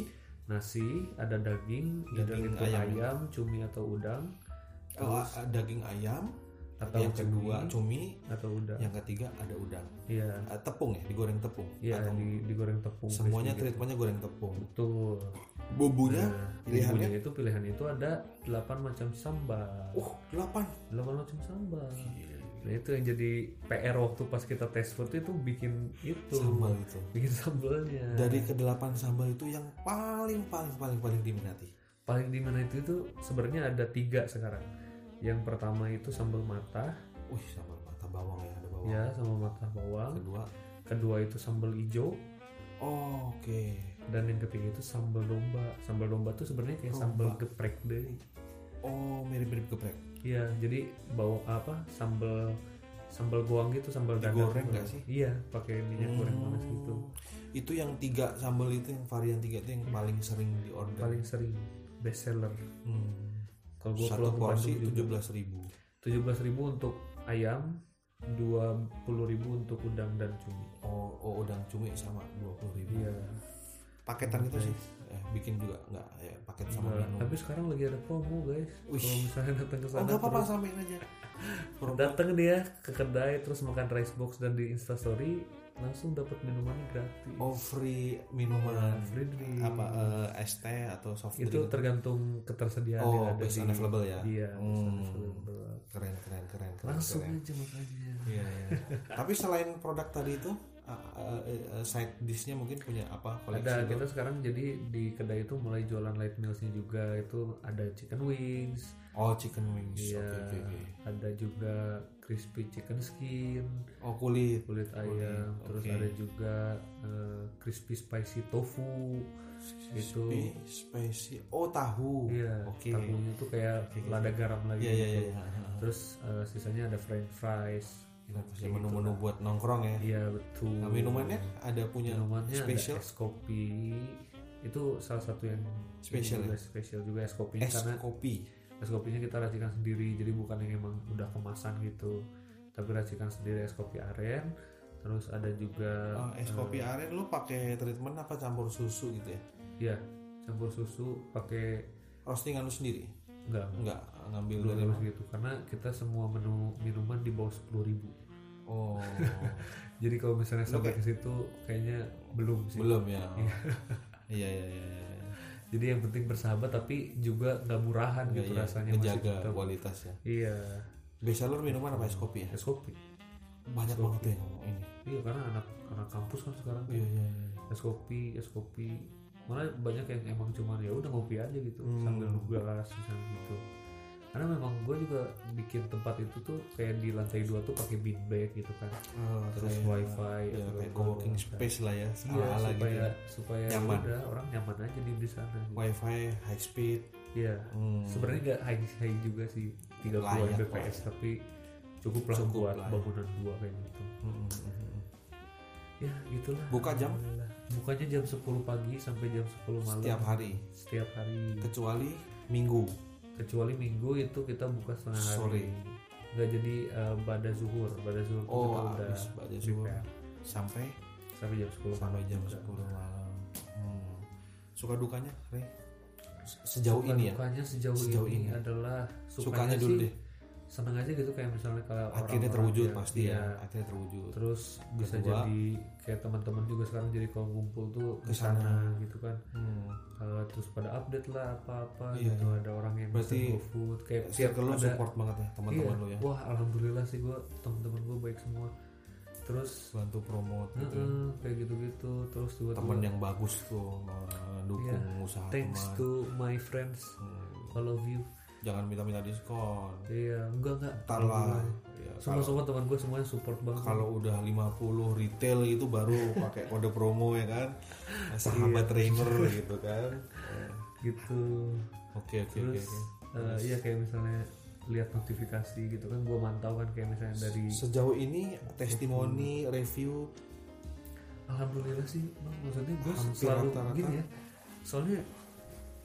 S2: nasi ada daging, ada
S3: Daging
S2: liput
S3: ayam.
S2: ayam. cumi atau udang
S3: oh, a- daging ayam,
S2: atau
S3: yang
S2: cumi,
S3: kedua cumi,
S2: atau udang
S3: yang ketiga ada udang.
S2: iya
S3: Eh, tepung ya, digoreng tepung.
S2: Iya
S3: Atau
S2: di, digoreng tepung crispy
S3: semuanya
S2: gitu.
S3: treatmentnya goreng tepung.
S2: betul
S3: Bumbunya
S2: Nah,
S3: pilihannya?
S2: bumbunya itu pilihan itu ada 8 macam sambal
S3: uh 8.
S2: 8 macam sambal nah itu yang jadi PR waktu pas kita tes food itu bikin itu
S3: Sambal itu.
S2: bikin sambalnya
S3: Dari kedelapan sambal itu yang paling paling paling paling diminati.
S2: paling di mana itu itu sebenarnya ada tiga sekarang yang pertama itu sambal mata
S3: Wih, sambal mata bawang ya, ada bawang.
S2: ya sambal mata bawang
S3: Kedua.
S2: kedua itu sambal hijau
S3: Oh, oke.
S2: dan yang ketiga itu sambal domba sambal domba tuh sebenarnya kayak sambal geprek deh
S3: Oh, mirip-mirip geprek.
S2: Iya, jadi bawa apa sambal sambal goang gitu sambal dadar.
S3: Digoreng nggak sih?
S2: Iya, pakai minyak goreng panas
S3: Hmm.
S2: gitu.
S3: Itu yang tiga sambal itu yang varian tiga itu yang paling sering diorder.
S2: Paling sering best seller.
S3: Hmm.
S2: Kalau gua
S3: Satu
S2: pulang ke
S3: porsi
S2: Bandung
S3: tujuh belas ribu.
S2: tujuh belas ribu untuk ayam, dua puluh ribu untuk udang dan cumi.
S3: Oh, oh, udang cumi sama dua puluh ribu.
S2: Iya.
S3: Paketan itu sih, eh, bikin juga nggak ya paket
S2: Nah,
S3: sama minum.
S2: tapi sekarang lagi ada promo guys.
S3: Wih.
S2: Kalau misalnya datang ke
S3: Oh,
S2: sana,
S3: nggak apa-apa
S2: terus-
S3: samain aja. Promo.
S2: datang dia ke kedai terus makan rice box dan di instastory langsung dapat minumannya gratis.
S3: Oh free minuman
S2: Free drink.
S3: apa eh, es teh atau soft
S2: Iya. itu
S3: drink
S2: tergantung ketersediaan
S3: Oh,
S2: yang ada di
S3: based on available ya?
S2: iya based on
S3: Hmm. ya.
S2: available.
S3: keren keren keren keren
S2: langsung
S3: keren.
S2: aja makanya
S3: Iya, iya. tapi selain produk tadi itu eh, eh, eh, side dishnya mungkin punya apa koleksi gitu?
S2: ada
S3: lo?
S2: kita sekarang jadi di kedai itu mulai jualan light mealsnya juga itu ada chicken wings
S3: oh chicken wings
S2: iya
S3: oke oke oke.
S2: ada juga crispy chicken skin
S3: oh kulit
S2: kulit ayam terus
S3: oke.
S2: ada juga eh, crispy spicy tofu itu
S3: Crispy, spicy oh tahu
S2: iya
S3: oke
S2: tahunya tuh kayak lada garam lagi
S3: iya iya iya
S2: gitu.
S3: iya.
S2: terus eh, sisanya ada french fries
S3: Ini pasti menu-menu buat nongkrong ya
S2: Iya betul.
S3: nah, minumannya ada punya
S2: Minumannya
S3: spesial
S2: ada es kopi. Itu salah satu yang
S3: Spesial ya?
S2: juga spesial juga es kopinya
S3: es
S2: Iya, karena
S3: kopi
S2: es kopinya kita racikan sendiri jadi bukan yang emang udah kemasan gitu. Tapi racikan sendiri es kopi aren. Terus ada juga
S3: Oh, es
S2: eh.
S3: kopi aren lu pakai treatment apa campur susu gitu ya
S2: ya campur susu pakai
S3: roastingan lu sendiri
S2: enggak
S3: nggak ngambil
S2: belum
S3: dari
S2: harus gitu karena kita semua menu minuman di bawah sepuluh ribu
S3: oh
S2: jadi kalau misalnya
S3: Lu
S2: sampai ke situ kayaknya belum sih
S3: belum ya iya iya iya iya.
S2: jadi yang penting bersahabat tapi juga nggak murahan
S3: Iya,
S2: gitu
S3: iya.
S2: rasanya masih
S3: ngejaga
S2: tetap
S3: kualitas ya
S2: Iya,
S3: biasa lu minuman apa es kopi ya
S2: es kopi.
S3: banyak banget ya yang ini
S2: Iya karena anak anak kampus kan sekarang tuh
S3: iya iya iya
S2: es kopi es kopi malah banyak yang emang cuman ya udah ngopi aja gitu
S3: Hmm.
S2: sambil nugas misalnya gitu karena memang gue juga bikin tempat itu tuh kayak di lantai dua tuh pakai beanbag gitu kan
S3: Eh,
S2: terus
S3: kayak-
S2: wifi
S3: ya,
S2: atau
S3: kayak
S2: apa
S3: co-working
S2: gitu.
S3: space lah ya
S2: Iya,
S3: ala-ala gitu
S2: supaya
S3: ya.
S2: supaya
S3: Nyaman.
S2: udah orang nyaman aja di di sana gitu.
S3: wifi high speed
S2: Iya.
S3: Hmm.
S2: Sebenarnya nggak high high juga sih 30
S3: Layak,
S2: Mbps tapi cukup lah
S3: Cukup
S2: buat
S3: lah ya.
S2: bangunan dua kayak gitu.
S3: Hmm, hmm, hmm.
S2: Ya gitulah.
S3: Buka jam?
S2: Alhamdulillah. Bukanya jam 10 pagi sampai jam 10 malam
S3: setiap hari
S2: setiap hari.
S3: kecuali minggu
S2: Kecuali minggu itu kita buka setengah hari.
S3: Sore.
S2: Nggak jadi eh, bada zuhur, bada zuhur tuh
S3: oh
S2: kita udah
S3: habis baca subuh
S2: prepare.
S3: sampai
S2: sampai jam 10
S3: sampai
S2: malam.
S3: jam
S2: juga.
S3: 10 malam Hmm. suka dukanya Rey? Se- sejauh
S2: Suka
S3: ini ya
S2: dukanya sejauh,
S3: Sejauh
S2: ini,
S3: ini.
S2: adalah
S3: sukanya dulu
S2: sih
S3: deh
S2: seneng aja gitu kayak misalnya kalau
S3: akhirnya
S2: orang-orang
S3: terwujud
S2: yang-
S3: pasti
S2: iya.
S3: ya akhirnya terwujud
S2: terus bisa
S3: Kedua.
S2: jadi kayak teman-teman juga sekarang jadi kalau ngumpul tuh ke
S3: Kesana.
S2: sana gitu kan
S3: Hmm.
S2: Eh, terus pada update lah apa-apa
S3: Iya.
S2: gitu ada orang yang
S3: Berarti
S2: pesen GoFood kayak tiap
S3: circle lo
S2: ada-
S3: support banget ya teman-teman
S2: iya.
S3: lo ya
S2: wah alhamdulillah sih gue teman-teman gue baik semua terus
S3: bantu promote gitu ya.
S2: eh, kayak gitu-gitu terus juga
S3: teman yang bagus tuh mendukung usaha
S2: thanks
S3: teman
S2: to my friends
S3: Hmm.
S2: I love you
S3: jangan minta-minta diskon
S2: iya enggak enggak
S3: Ntar lah.
S2: Alhamdulillah.
S3: Ya, kalau-
S2: semua-semua teman gue semuanya support banget
S3: kalau udah 50 retail itu baru pakai kode promo ya kan sahabat trainer gitu kan Eh,
S2: gitu
S3: oke oke oke
S2: terus
S3: oke.
S2: eh, iya kayak misalnya lihat notifikasi gitu kan gue mantau kan kayak misalnya dari
S3: sejauh ini testimoni review
S2: alhamdulillah sih Bang, maksudnya gue
S3: Hampir
S2: selalu
S3: rata-rata.
S2: gini ya soalnya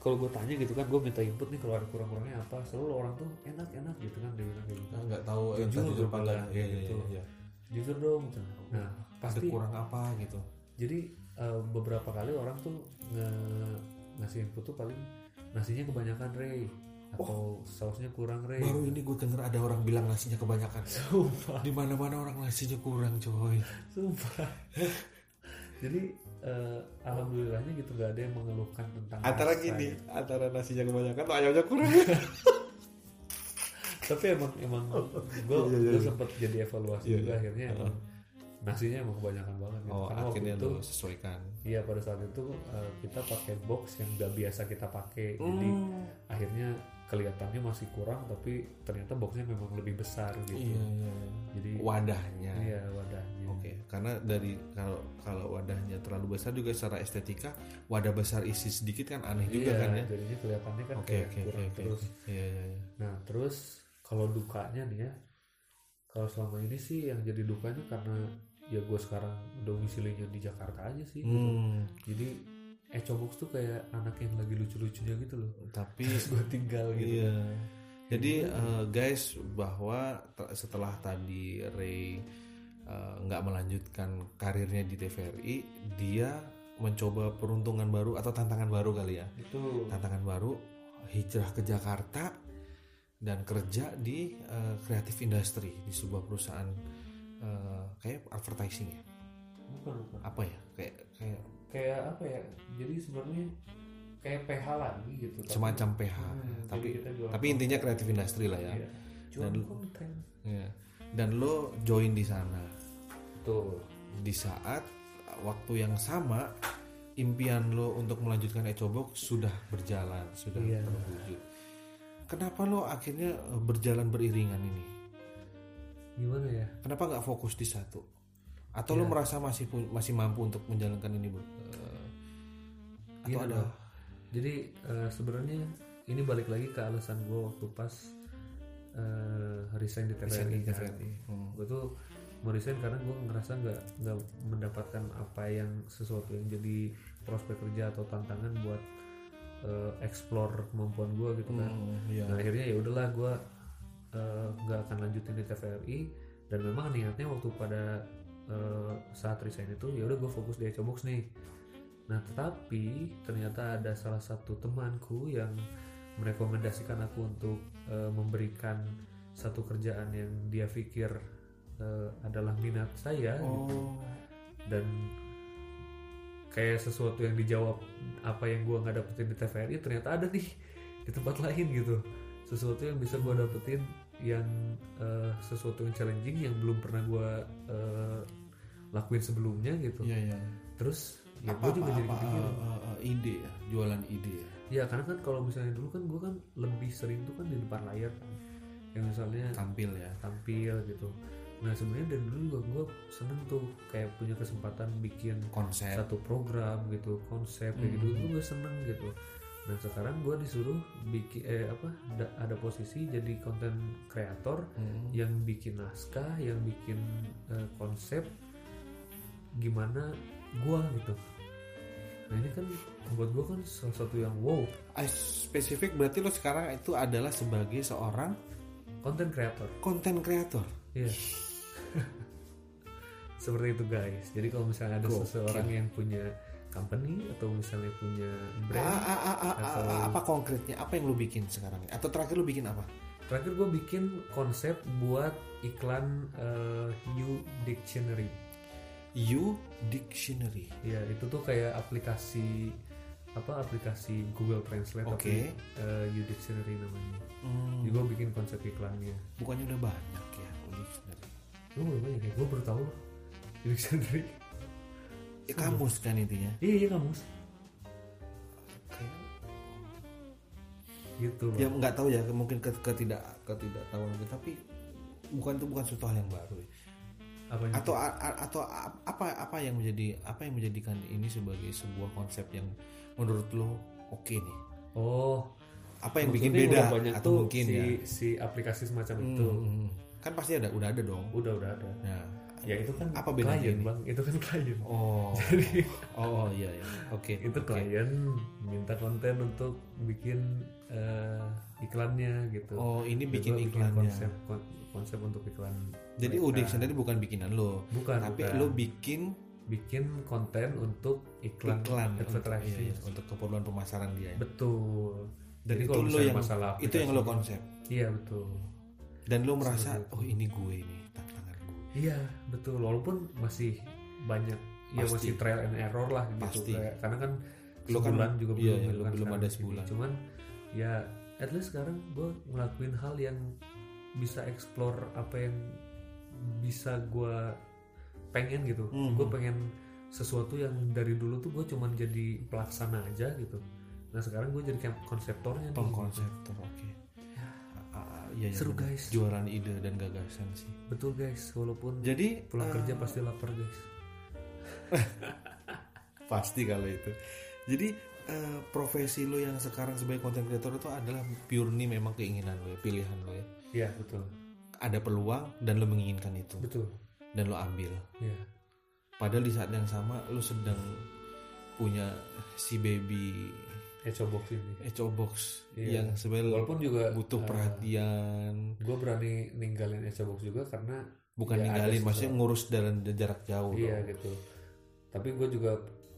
S2: kalau gue tanya gitu kan gue minta input nih kalau ada kurang-kurangnya apa selalu orang tuh enak enak gitu kan dia bilang kayak gitu
S3: kita Nah, nggak tahu yang
S2: Jujur,
S3: tadi
S2: jujur,
S3: depan
S2: jujur,
S3: ya,
S2: gitu. jujur dong gitu. nah pasti
S3: kurang apa gitu
S2: jadi eh, beberapa kali orang tuh nge ngasih input tuh paling nasinya kebanyakan Rey atau sausnya kurang Rey
S3: Oh. baru ini gue denger ada orang bilang nasinya kebanyakan
S2: Sumpah.
S3: di mana mana orang nasinya kurang coy
S2: Sumpah. Jadi eh, alhamdulillahnya gitu gak ada yang mengeluhkan tentang
S3: antara
S2: rasa
S3: gini
S2: gitu.
S3: antara nasinya kebanyakan atau ayamnya kurang
S2: Tapi emang emang gue
S3: Iya, iya, iya.
S2: sempat jadi evaluasi
S3: Iya,
S2: juga
S3: iya.
S2: akhirnya emang nasinya emang kebanyakan banget. Gitu.
S3: oh
S2: Karena waktu
S3: akhirnya
S2: itu
S3: lo sesuaikan gitu.
S2: Iya pada saat itu eh, kita pakai box yang gak biasa kita pakai, jadi akhirnya kelihatannya masih kurang tapi ternyata boxnya memang lebih besar gitu.
S3: iya iya iya.
S2: Jadi
S3: wadahnya
S2: iya wadahnya.
S3: Oke, karena dari kalau kalau wadahnya terlalu besar juga secara estetika, wadah besar isi sedikit kan aneh
S2: Iya,
S3: juga kan ya.
S2: Jadinya kelihatannya kan
S3: Oke,
S2: kayak
S3: oke, oke,
S2: kurang
S3: oke.
S2: terus.
S3: Iya, iya, iya.
S2: Nah terus kalau dukanya nih ya, kalau selama ini sih yang jadi dukanya karena ya gue sekarang domisilinya di Jakarta aja sih.
S3: Hmm,
S2: Jadi Ecobox tuh kayak anak yang lagi lucu-lucunya gitu loh.
S3: tapi
S2: Terus gue tinggal gitu.
S3: iya. Jadi eh, guys bahwa t- setelah tadi Ray eh, nggak melanjutkan karirnya di TVRI, dia mencoba peruntungan baru atau tantangan baru kali ya.
S2: Itu
S3: Tantangan baru hijrah ke Jakarta dan kerja di eh, kreatif industri di sebuah perusahaan eh, kayak advertising ya.
S2: bukan bukan.
S3: Apa ya? Kayak kayak
S2: Kayak apa ya? Jadi sebenarnya kayak PH lagi gitu. tapi-
S3: semacam PH.
S2: Hmm,
S3: tapi
S2: jadi kita jual
S3: tapi intinya kreatif industri lah ya.
S2: Iya. Jual
S3: Dan-
S2: konten.
S3: Iya. Dan lo join di sana
S2: Betul.
S3: di saat waktu yang sama impian lo untuk melanjutkan Ecobok sudah berjalan, sudah
S2: Iya.
S3: terwujud. Kenapa lo akhirnya eh, berjalan beriringan ini?
S2: Gimana ya?
S3: Kenapa nggak fokus di satu? Atau lo
S2: Iya.
S3: merasa masih pu- masih mampu untuk menjalankan ini? Bu? Eh, Atau
S2: Gini
S3: ada?
S2: loh. Jadi eh, sebenarnya ini balik lagi ke alasan gue waktu pas eh, resign di
S3: Resign
S2: TVRI.
S3: di TVRI. Hmm.
S2: Gue tuh mau resign karena gue ngerasa nggak nggak mendapatkan apa yang sesuatu yang jadi prospek kerja atau tantangan buat eh, explore kemampuan gue gitu kan.
S3: Hmm, iya.
S2: Nah, akhirnya ya udahlah gue nggak akan lanjutin di TVRI dan memang niatnya waktu pada eh, saat resign itu ya udah gue fokus di Ecobox nih. Nah tetapi ternyata ada salah satu temanku yang merekomendasikan aku untuk eh, memberikan satu kerjaan yang dia pikir eh, adalah minat saya gitu.
S3: Oh,
S2: dan kayak sesuatu yang dijawab apa yang gua nggak dapetin di TVRI ternyata ada nih di tempat lain gitu sesuatu yang bisa gua dapetin yang eh, sesuatu yang challenging yang belum pernah gue lakuin sebelumnya gitu
S3: Iya iya.
S2: terus ya gue
S3: Apa apa,
S2: juga jadi
S3: apa
S2: kepikiran
S3: eh, eh, eh, ide ya, jualan ide ya.
S2: ya karena kan kalau misalnya dulu kan gue kan lebih sering tuh kan di depan layar yang misalnya
S3: Tampil ya.
S2: tampil gitu nah sebenarnya dari dulu juga gue seneng tuh kayak punya kesempatan bikin
S3: Konsep.
S2: satu program gitu konsep kayak
S3: Hmm.
S2: gitu itu gue seneng gitu nah sekarang gue disuruh bikin eh apa da- ada posisi jadi konten kreator
S3: Hmm.
S2: yang bikin naskah yang bikin eh, konsep gimana gue gitu nah ini kan buat gue kan salah satu yang wow
S3: Ah, Spesifik berarti lo sekarang itu adalah sebagai seorang
S2: konten kreator
S3: konten kreator.
S2: Iya. Seperti itu guys. Jadi kalau misalnya ada
S3: Gokil.
S2: seseorang yang punya company atau misalnya punya brand, atau-
S3: apa konkretnya? Apa yang lo bikin sekarang? Atau terakhir lo bikin apa?
S2: terakhir gue bikin konsep buat iklan eh, You Dictionary.
S3: You Dictionary.
S2: Ya itu tuh kayak aplikasi apa aplikasi Google Translate
S3: Oke.
S2: tapi eh, You Dictionary namanya.
S3: Hmm,
S2: Jadi gue bikin konsep iklannya.
S3: bukannya udah banyak ya You Dictionary?
S2: Lu udah banyak ya? Gue baru tahu loh, You Dictionary.
S3: Ya, kamus kan intinya.
S2: iya iya kamu gitu loh.
S3: Ya nggak tahu ya mungkin ke- ketidak ketidaktahuan gue tapi bukan itu bukan suatu hal yang baru. ya.
S2: Apanya?
S3: Atau a- a- atau a- apa apa yang menjadi apa yang menjadikan ini sebagai sebuah konsep yang menurut lo oke nih?
S2: Oh,
S3: Apa yang bikin
S2: maksudnya
S3: beda
S2: udah banyak
S3: atau
S2: tuh
S3: mungkin
S2: si,
S3: ya?
S2: si aplikasi semacam itu
S3: Hmm, kan pasti ada udah ada dong.
S2: udah udah ada.
S3: Nah,
S2: Ya itu kan
S3: Apa bedanya
S2: klien
S3: ini?
S2: bang, itu kan klien.
S3: oh oh iya ya. Oke.
S2: Itu
S3: oke.
S2: klien minta konten untuk bikin eh, iklannya gitu.
S3: Oh, ini bikin
S2: Gua
S3: iklannya.
S2: Konsep kon- konsep untuk iklan.
S3: Jadi
S2: mereka.
S3: Udik sendiri bukan bikinan lo,
S2: bukan,
S3: tapi
S2: bukan.
S3: lo bikin
S2: bikin konten untuk iklan,
S3: iklan untuk,
S2: advertising.
S3: iya, iya, untuk keperluan pemasaran dia.
S2: Betul. Jadi
S3: Dan itu
S2: kalau
S3: lo
S2: misalnya
S3: yang
S2: masalah
S3: itu yang lo
S2: aplikasi-
S3: konsep
S2: Iya betul.
S3: dan lo merasa oh ini gue ini tantangan gue
S2: Iya betul walaupun masih banyak ya
S3: Pasti.
S2: masih trial and error lah gitu
S3: Pasti.
S2: Kayak- karena kan
S3: Lo kan-
S2: sebulan juga
S3: iya,
S2: belum
S3: iya,
S2: gitu
S3: lo
S2: kan
S3: belum
S2: sekarang
S3: ada
S2: di sini.
S3: sebulan.
S2: cuman ya at least sekarang gue ngelakuin hal yang bisa explore apa yang bisa gue pengen gitu
S3: Mhm.
S2: gue pengen sesuatu yang dari dulu tuh gue cuman jadi pelaksana aja gitu nah sekarang gue jadi kayak konseptornya nih.
S3: pengkonseptor oke Ah, ah, iya, iya,
S2: Seru,
S3: bener.
S2: guys.
S3: jualan ide dan gagasan sih
S2: betul guys walaupun
S3: jadi
S2: pulang
S3: eh,
S2: kerja pasti lapar guys
S3: pasti kalau itu jadi eh, profesi lo yang sekarang sebagai content creator itu adalah purely memang keinginan lo ya pilihan lo ya
S2: iya betul
S3: ada peluang dan lo menginginkan itu
S2: betul
S3: dan lo ambil
S2: iya
S3: padahal di saat yang sama lo sedang punya si baby
S2: Echo Box ini.
S3: echo box
S2: Iya.
S3: yang sebenarnya
S2: Walaupun juga
S3: butuh perhatian
S2: gue berani ninggalin Echo Box juga karena
S3: bukan
S2: Ya, ada
S3: ninggalin
S2: sesuatu.
S3: maksudnya ngurus dalam jarak jauh
S2: iya
S3: Oh, dong.
S2: gitu. Tapi gue juga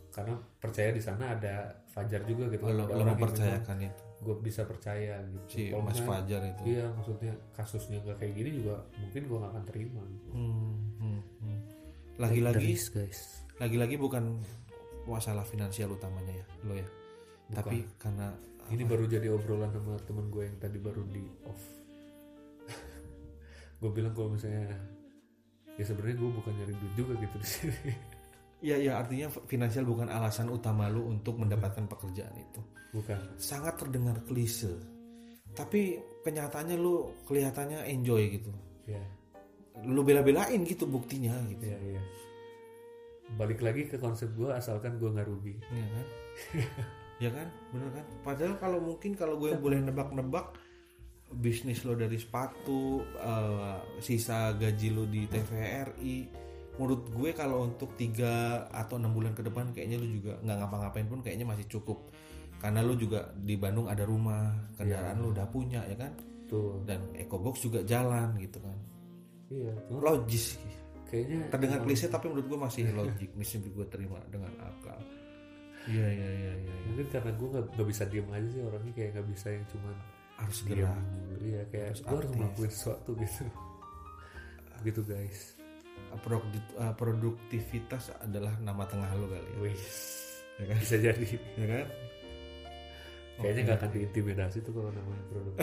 S2: karena percaya di sana ada Fajar juga gitu.
S3: lo, lo mempercayakan itu
S2: Gue bisa percaya gitu.
S3: si
S2: Kalau
S3: Mas
S2: misalnya-
S3: Fajar itu
S2: gitu. Iya maksudnya kasusnya nggak kayak gini juga mungkin gue gak akan terima. gitu.
S3: Hmm, hmm, hmm. lagi-lagi
S2: Guys, guys.
S3: lagi-lagi bukan masalah finansial utamanya ya lo ya tapi karena
S2: Ini baru jadi obrolan sama temen gue yang tadi baru di off. gue bilang kalau misalnya ya sebenarnya gue bukan nyari duit juga gitu di sini.
S3: ya ya artinya finansial bukan alasan utama lo untuk mendapatkan pekerjaan itu
S2: bukan.
S3: sangat terdengar klise tapi kenyataannya lo kelihatannya enjoy gitu
S2: Ya.
S3: lo bela-belain gitu buktinya gitu
S2: Iya iya. Balik lagi ke konsep gue asalkan gue nggak rugi.
S3: Iya kan? ya kan? Bener kan? Padahal kalau mungkin kalau gue boleh nebak-nebak bisnis lo dari sepatu, eh, sisa gaji lo di TVRI, menurut gue kalau untuk 3 atau enam bulan ke depan kayaknya lo juga nggak ngapa-ngapain pun kayaknya masih cukup. Karena lo juga di Bandung ada rumah, kendaraan lo udah punya ya kan?
S2: Tuh.
S3: Dan Ecobox juga jalan gitu kan.
S2: Iya. Cuma
S3: Logis.
S2: kayaknya
S3: Terdengar klise tapi menurut gue masih logik, masih gue terima dengan akal. Iya iya iya iya. iya.
S2: mungkin karena gue nggak nggak bisa diem aja sih orangnya kayak nggak bisa yang cuman
S3: harus
S2: diem.
S3: gerak.
S2: Iya kayak
S3: Harus
S2: gue harus
S3: aktif.
S2: melakukan sesuatu gitu. gitu guys.
S3: Produk- eh, produktivitas adalah nama tengah lo kali ya,
S2: Wih.
S3: ya kan?
S2: Bisa jadi.
S3: Ya kan?
S2: Kayaknya nggak akan diintimidasi tuh kalau namanya produk.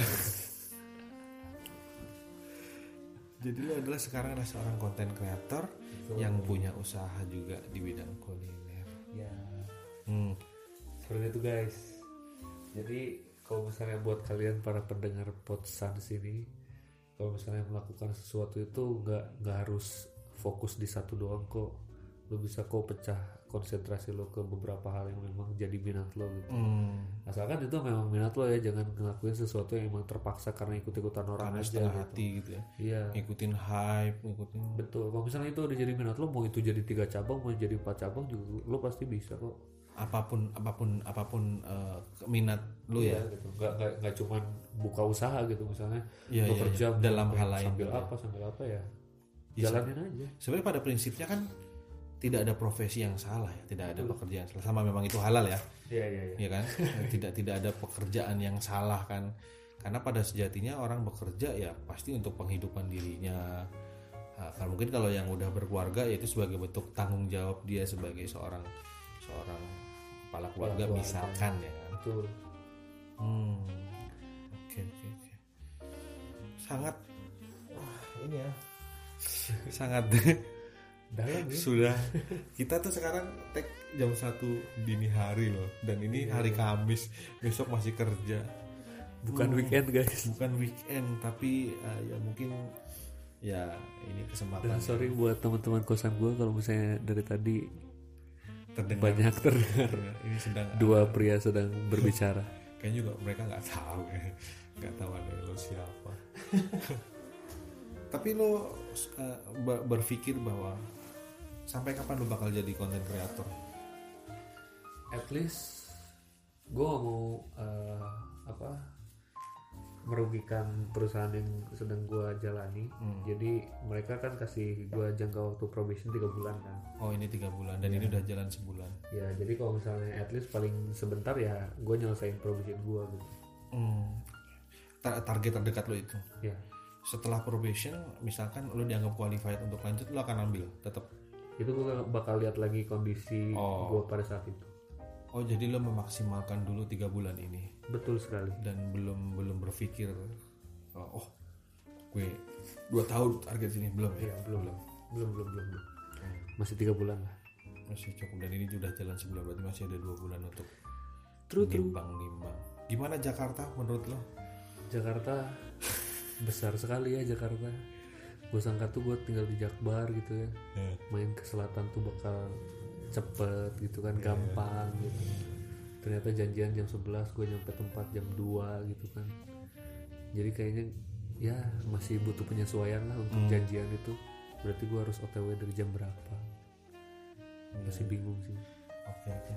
S3: Jadi lu adalah sekarang adalah seorang konten creator
S2: Betul.
S3: yang punya usaha juga di bidang kuliner.
S2: ya
S3: Hmm.
S2: seperti itu guys jadi kalau misalnya buat kalian para pendengar potsan sini kalau misalnya melakukan sesuatu itu nggak nggak harus fokus di satu doang kok lo bisa kok pecah konsentrasi lo ke beberapa hal yang memang jadi minat lo gitu
S3: Hmm.
S2: asalkan itu memang minat lo ya jangan ngelakuin sesuatu yang emang terpaksa karena ikut-ikutan orang
S3: Karena
S2: aja
S3: setengah
S2: gitu.
S3: hati gitu ya.
S2: iya
S3: Ngikutin hype, ngikutin
S2: betul kalau misalnya itu udah jadi minat lo mau itu jadi tiga cabang mau jadi empat cabang juga lo pasti bisa kok
S3: apapun apapun apapun eh, minat lu ya.
S2: Iya, gitu nggak nggak nggak cuman buka usaha gitu misalnya
S3: Iya,
S2: lo
S3: iya,
S2: kerja
S3: iya. Dalam hal lain
S2: sambil
S3: juga.
S2: apa sambil apa ya
S3: Iya,
S2: jalanin aja
S3: Sebenarnya pada prinsipnya kan tidak ada profesi yang salah ya, tidak ada pekerjaan salah. Sama memang itu halal ya.
S2: iya iya iya
S3: ya kan tidak tidak ada pekerjaan yang salah kan karena pada sejatinya orang bekerja ya pasti untuk penghidupan dirinya Nah, kalau mungkin kalau yang udah berkeluarga ya itu sebagai bentuk tanggung jawab dia sebagai seorang seorang kepala keluarga
S2: keluarga.
S3: misalkan ya kan
S2: betul
S3: Hmm. oke oke oke sangat
S1: ini ya
S3: sangat
S2: dalam ya
S3: sudah kita tuh sekarang tag jam satu dini hari loh dan ini
S2: Iya.
S3: hari Kamis besok masih kerja Hmm.
S2: bukan weekend guys
S3: bukan weekend tapi uh, ya mungkin ya ini kesempatan
S2: dan Nah, Eh, sorry buat teman-teman kosan gue kalau misalnya dari tadi
S3: terdengar Ya,
S2: banyak terdengar
S3: ini sedang
S2: dua pria sedang berbicara
S3: kayaknya juga mereka nggak tahu ya. nggak tahu ada lo siapa tapi lo uh, ba- berpikir bahwa sampai kapan lo bakal jadi konten kreator
S2: at least gue gak mau eh, apa merugikan perusahaan yang sedang gue jalani
S3: Hmm.
S2: jadi mereka kan kasih gue jangka waktu probation 3 bulan kan
S3: oh ini tiga bulan dan
S2: Iya.
S3: ini udah jalan sebulan
S2: ya jadi kalau misalnya at least paling sebentar ya gue nyelesain probation gue gitu
S3: Hmm. Ta- target terdekat lo itu
S2: ya
S3: setelah probation misalkan lo dianggap qualified untuk lanjut lo akan ambil tetap
S2: itu gue bakal lihat lagi kondisi
S3: Oh.
S2: gue pada saat itu
S3: oh jadi lo memaksimalkan dulu tiga bulan ini
S2: betul sekali
S3: dan belum belum berpikir uh, oh gue dua tahun target sini belum ya
S2: ya belum belum belum belum belum, belum. masih tiga bulan lah
S3: masih cukup dan ini sudah jalan sebulan berarti masih ada dua bulan untuk
S2: True, true.
S3: nimbang nimbang gimana Jakarta menurut lo
S2: Jakarta besar sekali ya Jakarta gue sangka tuh gue tinggal di Jakbar gitu ya main ke selatan tuh bakal cepet gitu kan gampang gitu ternyata janjian jam 11 gue nyampe tempat jam 2 gitu kan jadi kayaknya ya masih butuh penyesuaian lah untuk janjian itu berarti gue harus otw dari jam berapa masih bingung sih
S3: oke oke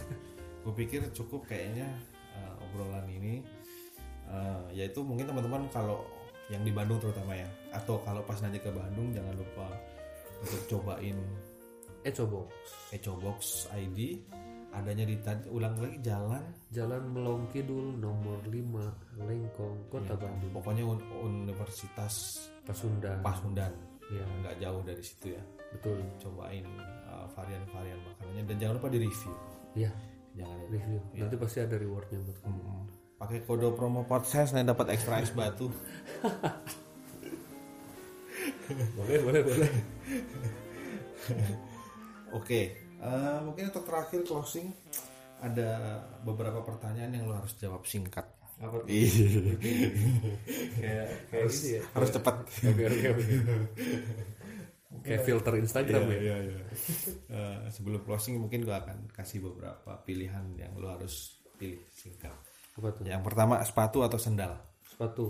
S3: gue pikir cukup kayaknya uh, obrolan ini Uh, yaitu mungkin teman-teman kalau yang di Bandung terutama ya atau kalau pas nanti ke Bandung jangan lupa untuk cobain
S2: eh coba
S3: Eco Box ID adanya di tad- ulang lagi jalan
S2: Jalan Melong Kidul nomor 5 Lengkong Kota Bandung
S3: pokoknya un- Universitas
S2: Pasundan
S3: Pasundan
S2: ya
S3: nggak jauh dari situ ya
S2: betul
S3: cobain uh, varian-varian makanannya dan jangan lupa di review
S2: ya
S3: jangan lupa.
S2: review nanti pasti ada rewardnya buat kamu
S3: Mm. pakai kode promo podcast nah dapat extra es batu
S2: Eh, boleh boleh boleh
S3: oke eh, mungkin untuk terakhir closing ada beberapa pertanyaan yang lo harus jawab singkat
S2: apa tuh?
S3: Ih,
S2: kayak kayak gitu ya
S3: Iya. harus Iya. cepat
S2: oke oke oke kayak filter Instagram
S3: Iya,
S2: ya
S3: iya, iya. Eh, sebelum closing mungkin gue akan kasih beberapa pilihan yang lo harus pilih singkat.
S2: apa tuh
S3: Yang pertama sepatu atau sendal.
S2: sepatu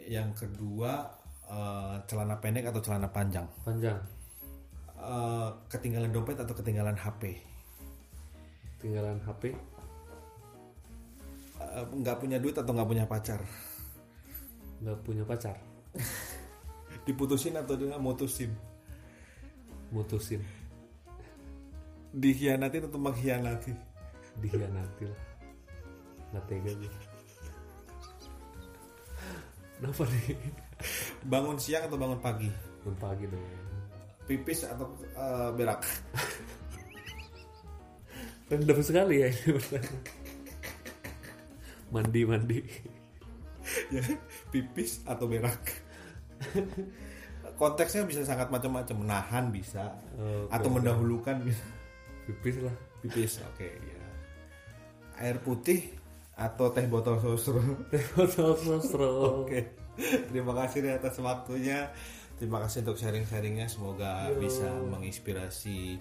S3: Yang kedua eh, celana pendek atau celana panjang.
S2: panjang
S3: Eh, ketinggalan dompet atau ketinggalan Eh, HP.
S2: tinggalan HP
S3: Eh, Nggak punya duit atau nggak punya pacar.
S2: nggak punya pacar
S3: Diputusin atau dia mutusin.
S2: mutusin
S3: Dikhianatin atau mengkhianati.
S2: dikhianati lah nggak tega gue kenapa nih
S3: Bangun siang atau bangun pagi.
S2: Bangun pagi dong
S3: Pipis atau eh, berak.
S2: rendam sekali ya ini pertanyaan. mandi mandi
S3: ya pipis atau berak konteksnya bisa sangat macam-macam menahan bisa atau mendahulukan bisa
S2: pipis lah
S3: pipis oke ya air putih atau teh botol sosro
S2: Oke.
S3: Oke. Terima kasih nih atas waktunya. Terima kasih untuk sharing-sharingnya. Semoga bisa menginspirasi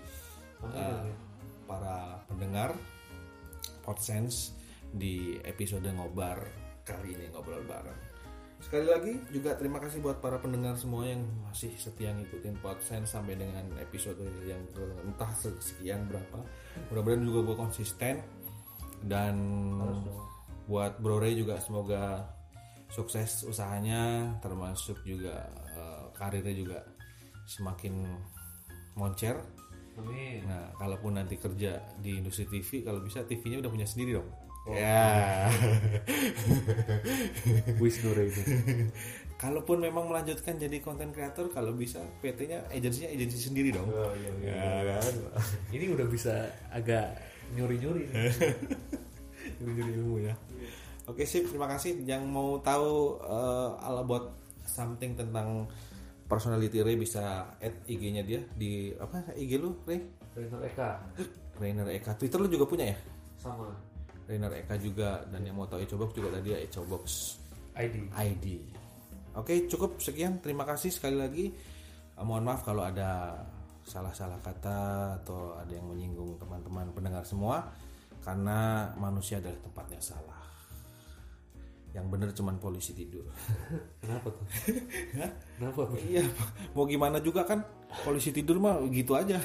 S3: uh, para pendengar Podsense di episode ngobar kali ini ngobrol bareng. Sekali lagi juga terima kasih buat para pendengar semua yang masih setia ngikutin Podsense sampai dengan episode yang ke- entah sekian berapa. Mudah-mudahan juga gue konsisten dan buat Bro Ray juga semoga sukses usahanya termasuk juga eh, karirnya juga semakin moncer.
S2: Amin.
S3: Nah, kalaupun nanti kerja di industri TV kalau bisa TV-nya udah punya sendiri dong. Ya.
S2: Wis Nure itu.
S3: kalaupun memang melanjutkan jadi konten kreator kalau bisa PT-nya agensinya agensi sendiri dong. Ya, kan?
S2: Ini udah bisa agak nyuri-nyuri. nih.
S3: Jujur ilmu ya. Oke sip, terima kasih. Yang mau tahu eh, ala buat something tentang personality Ray bisa add IG-nya dia di apa IG lu Ray?
S2: Trainer Eka
S3: Rainer Eka. Twitter lu juga punya ya?
S2: sama
S3: Rainer Eka juga dan yang mau tahu Ecobox juga tadi ya Ecobox
S2: ID.
S3: ID. Oke, cukup sekian. Terima kasih sekali lagi. Eh, Mohon maaf kalau ada salah-salah kata atau ada yang menyinggung teman-teman pendengar semua karena manusia adalah tempatnya salah. Yang benar cuman polisi tidur.
S2: Kenapa tuh? Kenapa?
S3: iya, mau gimana juga kan polisi tidur mah gitu aja.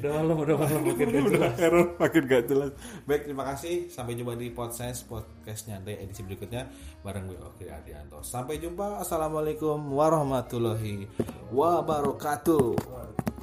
S2: Udah malam, udah malam makin gak jelas.
S3: Error makin gak jelas. Baik, terima kasih. Sampai jumpa di Podsense Podcast Nyantai edisi berikutnya bareng gue Oki Adianto. Sampai jumpa. Assalamualaikum warahmatullahi wabarakatuh.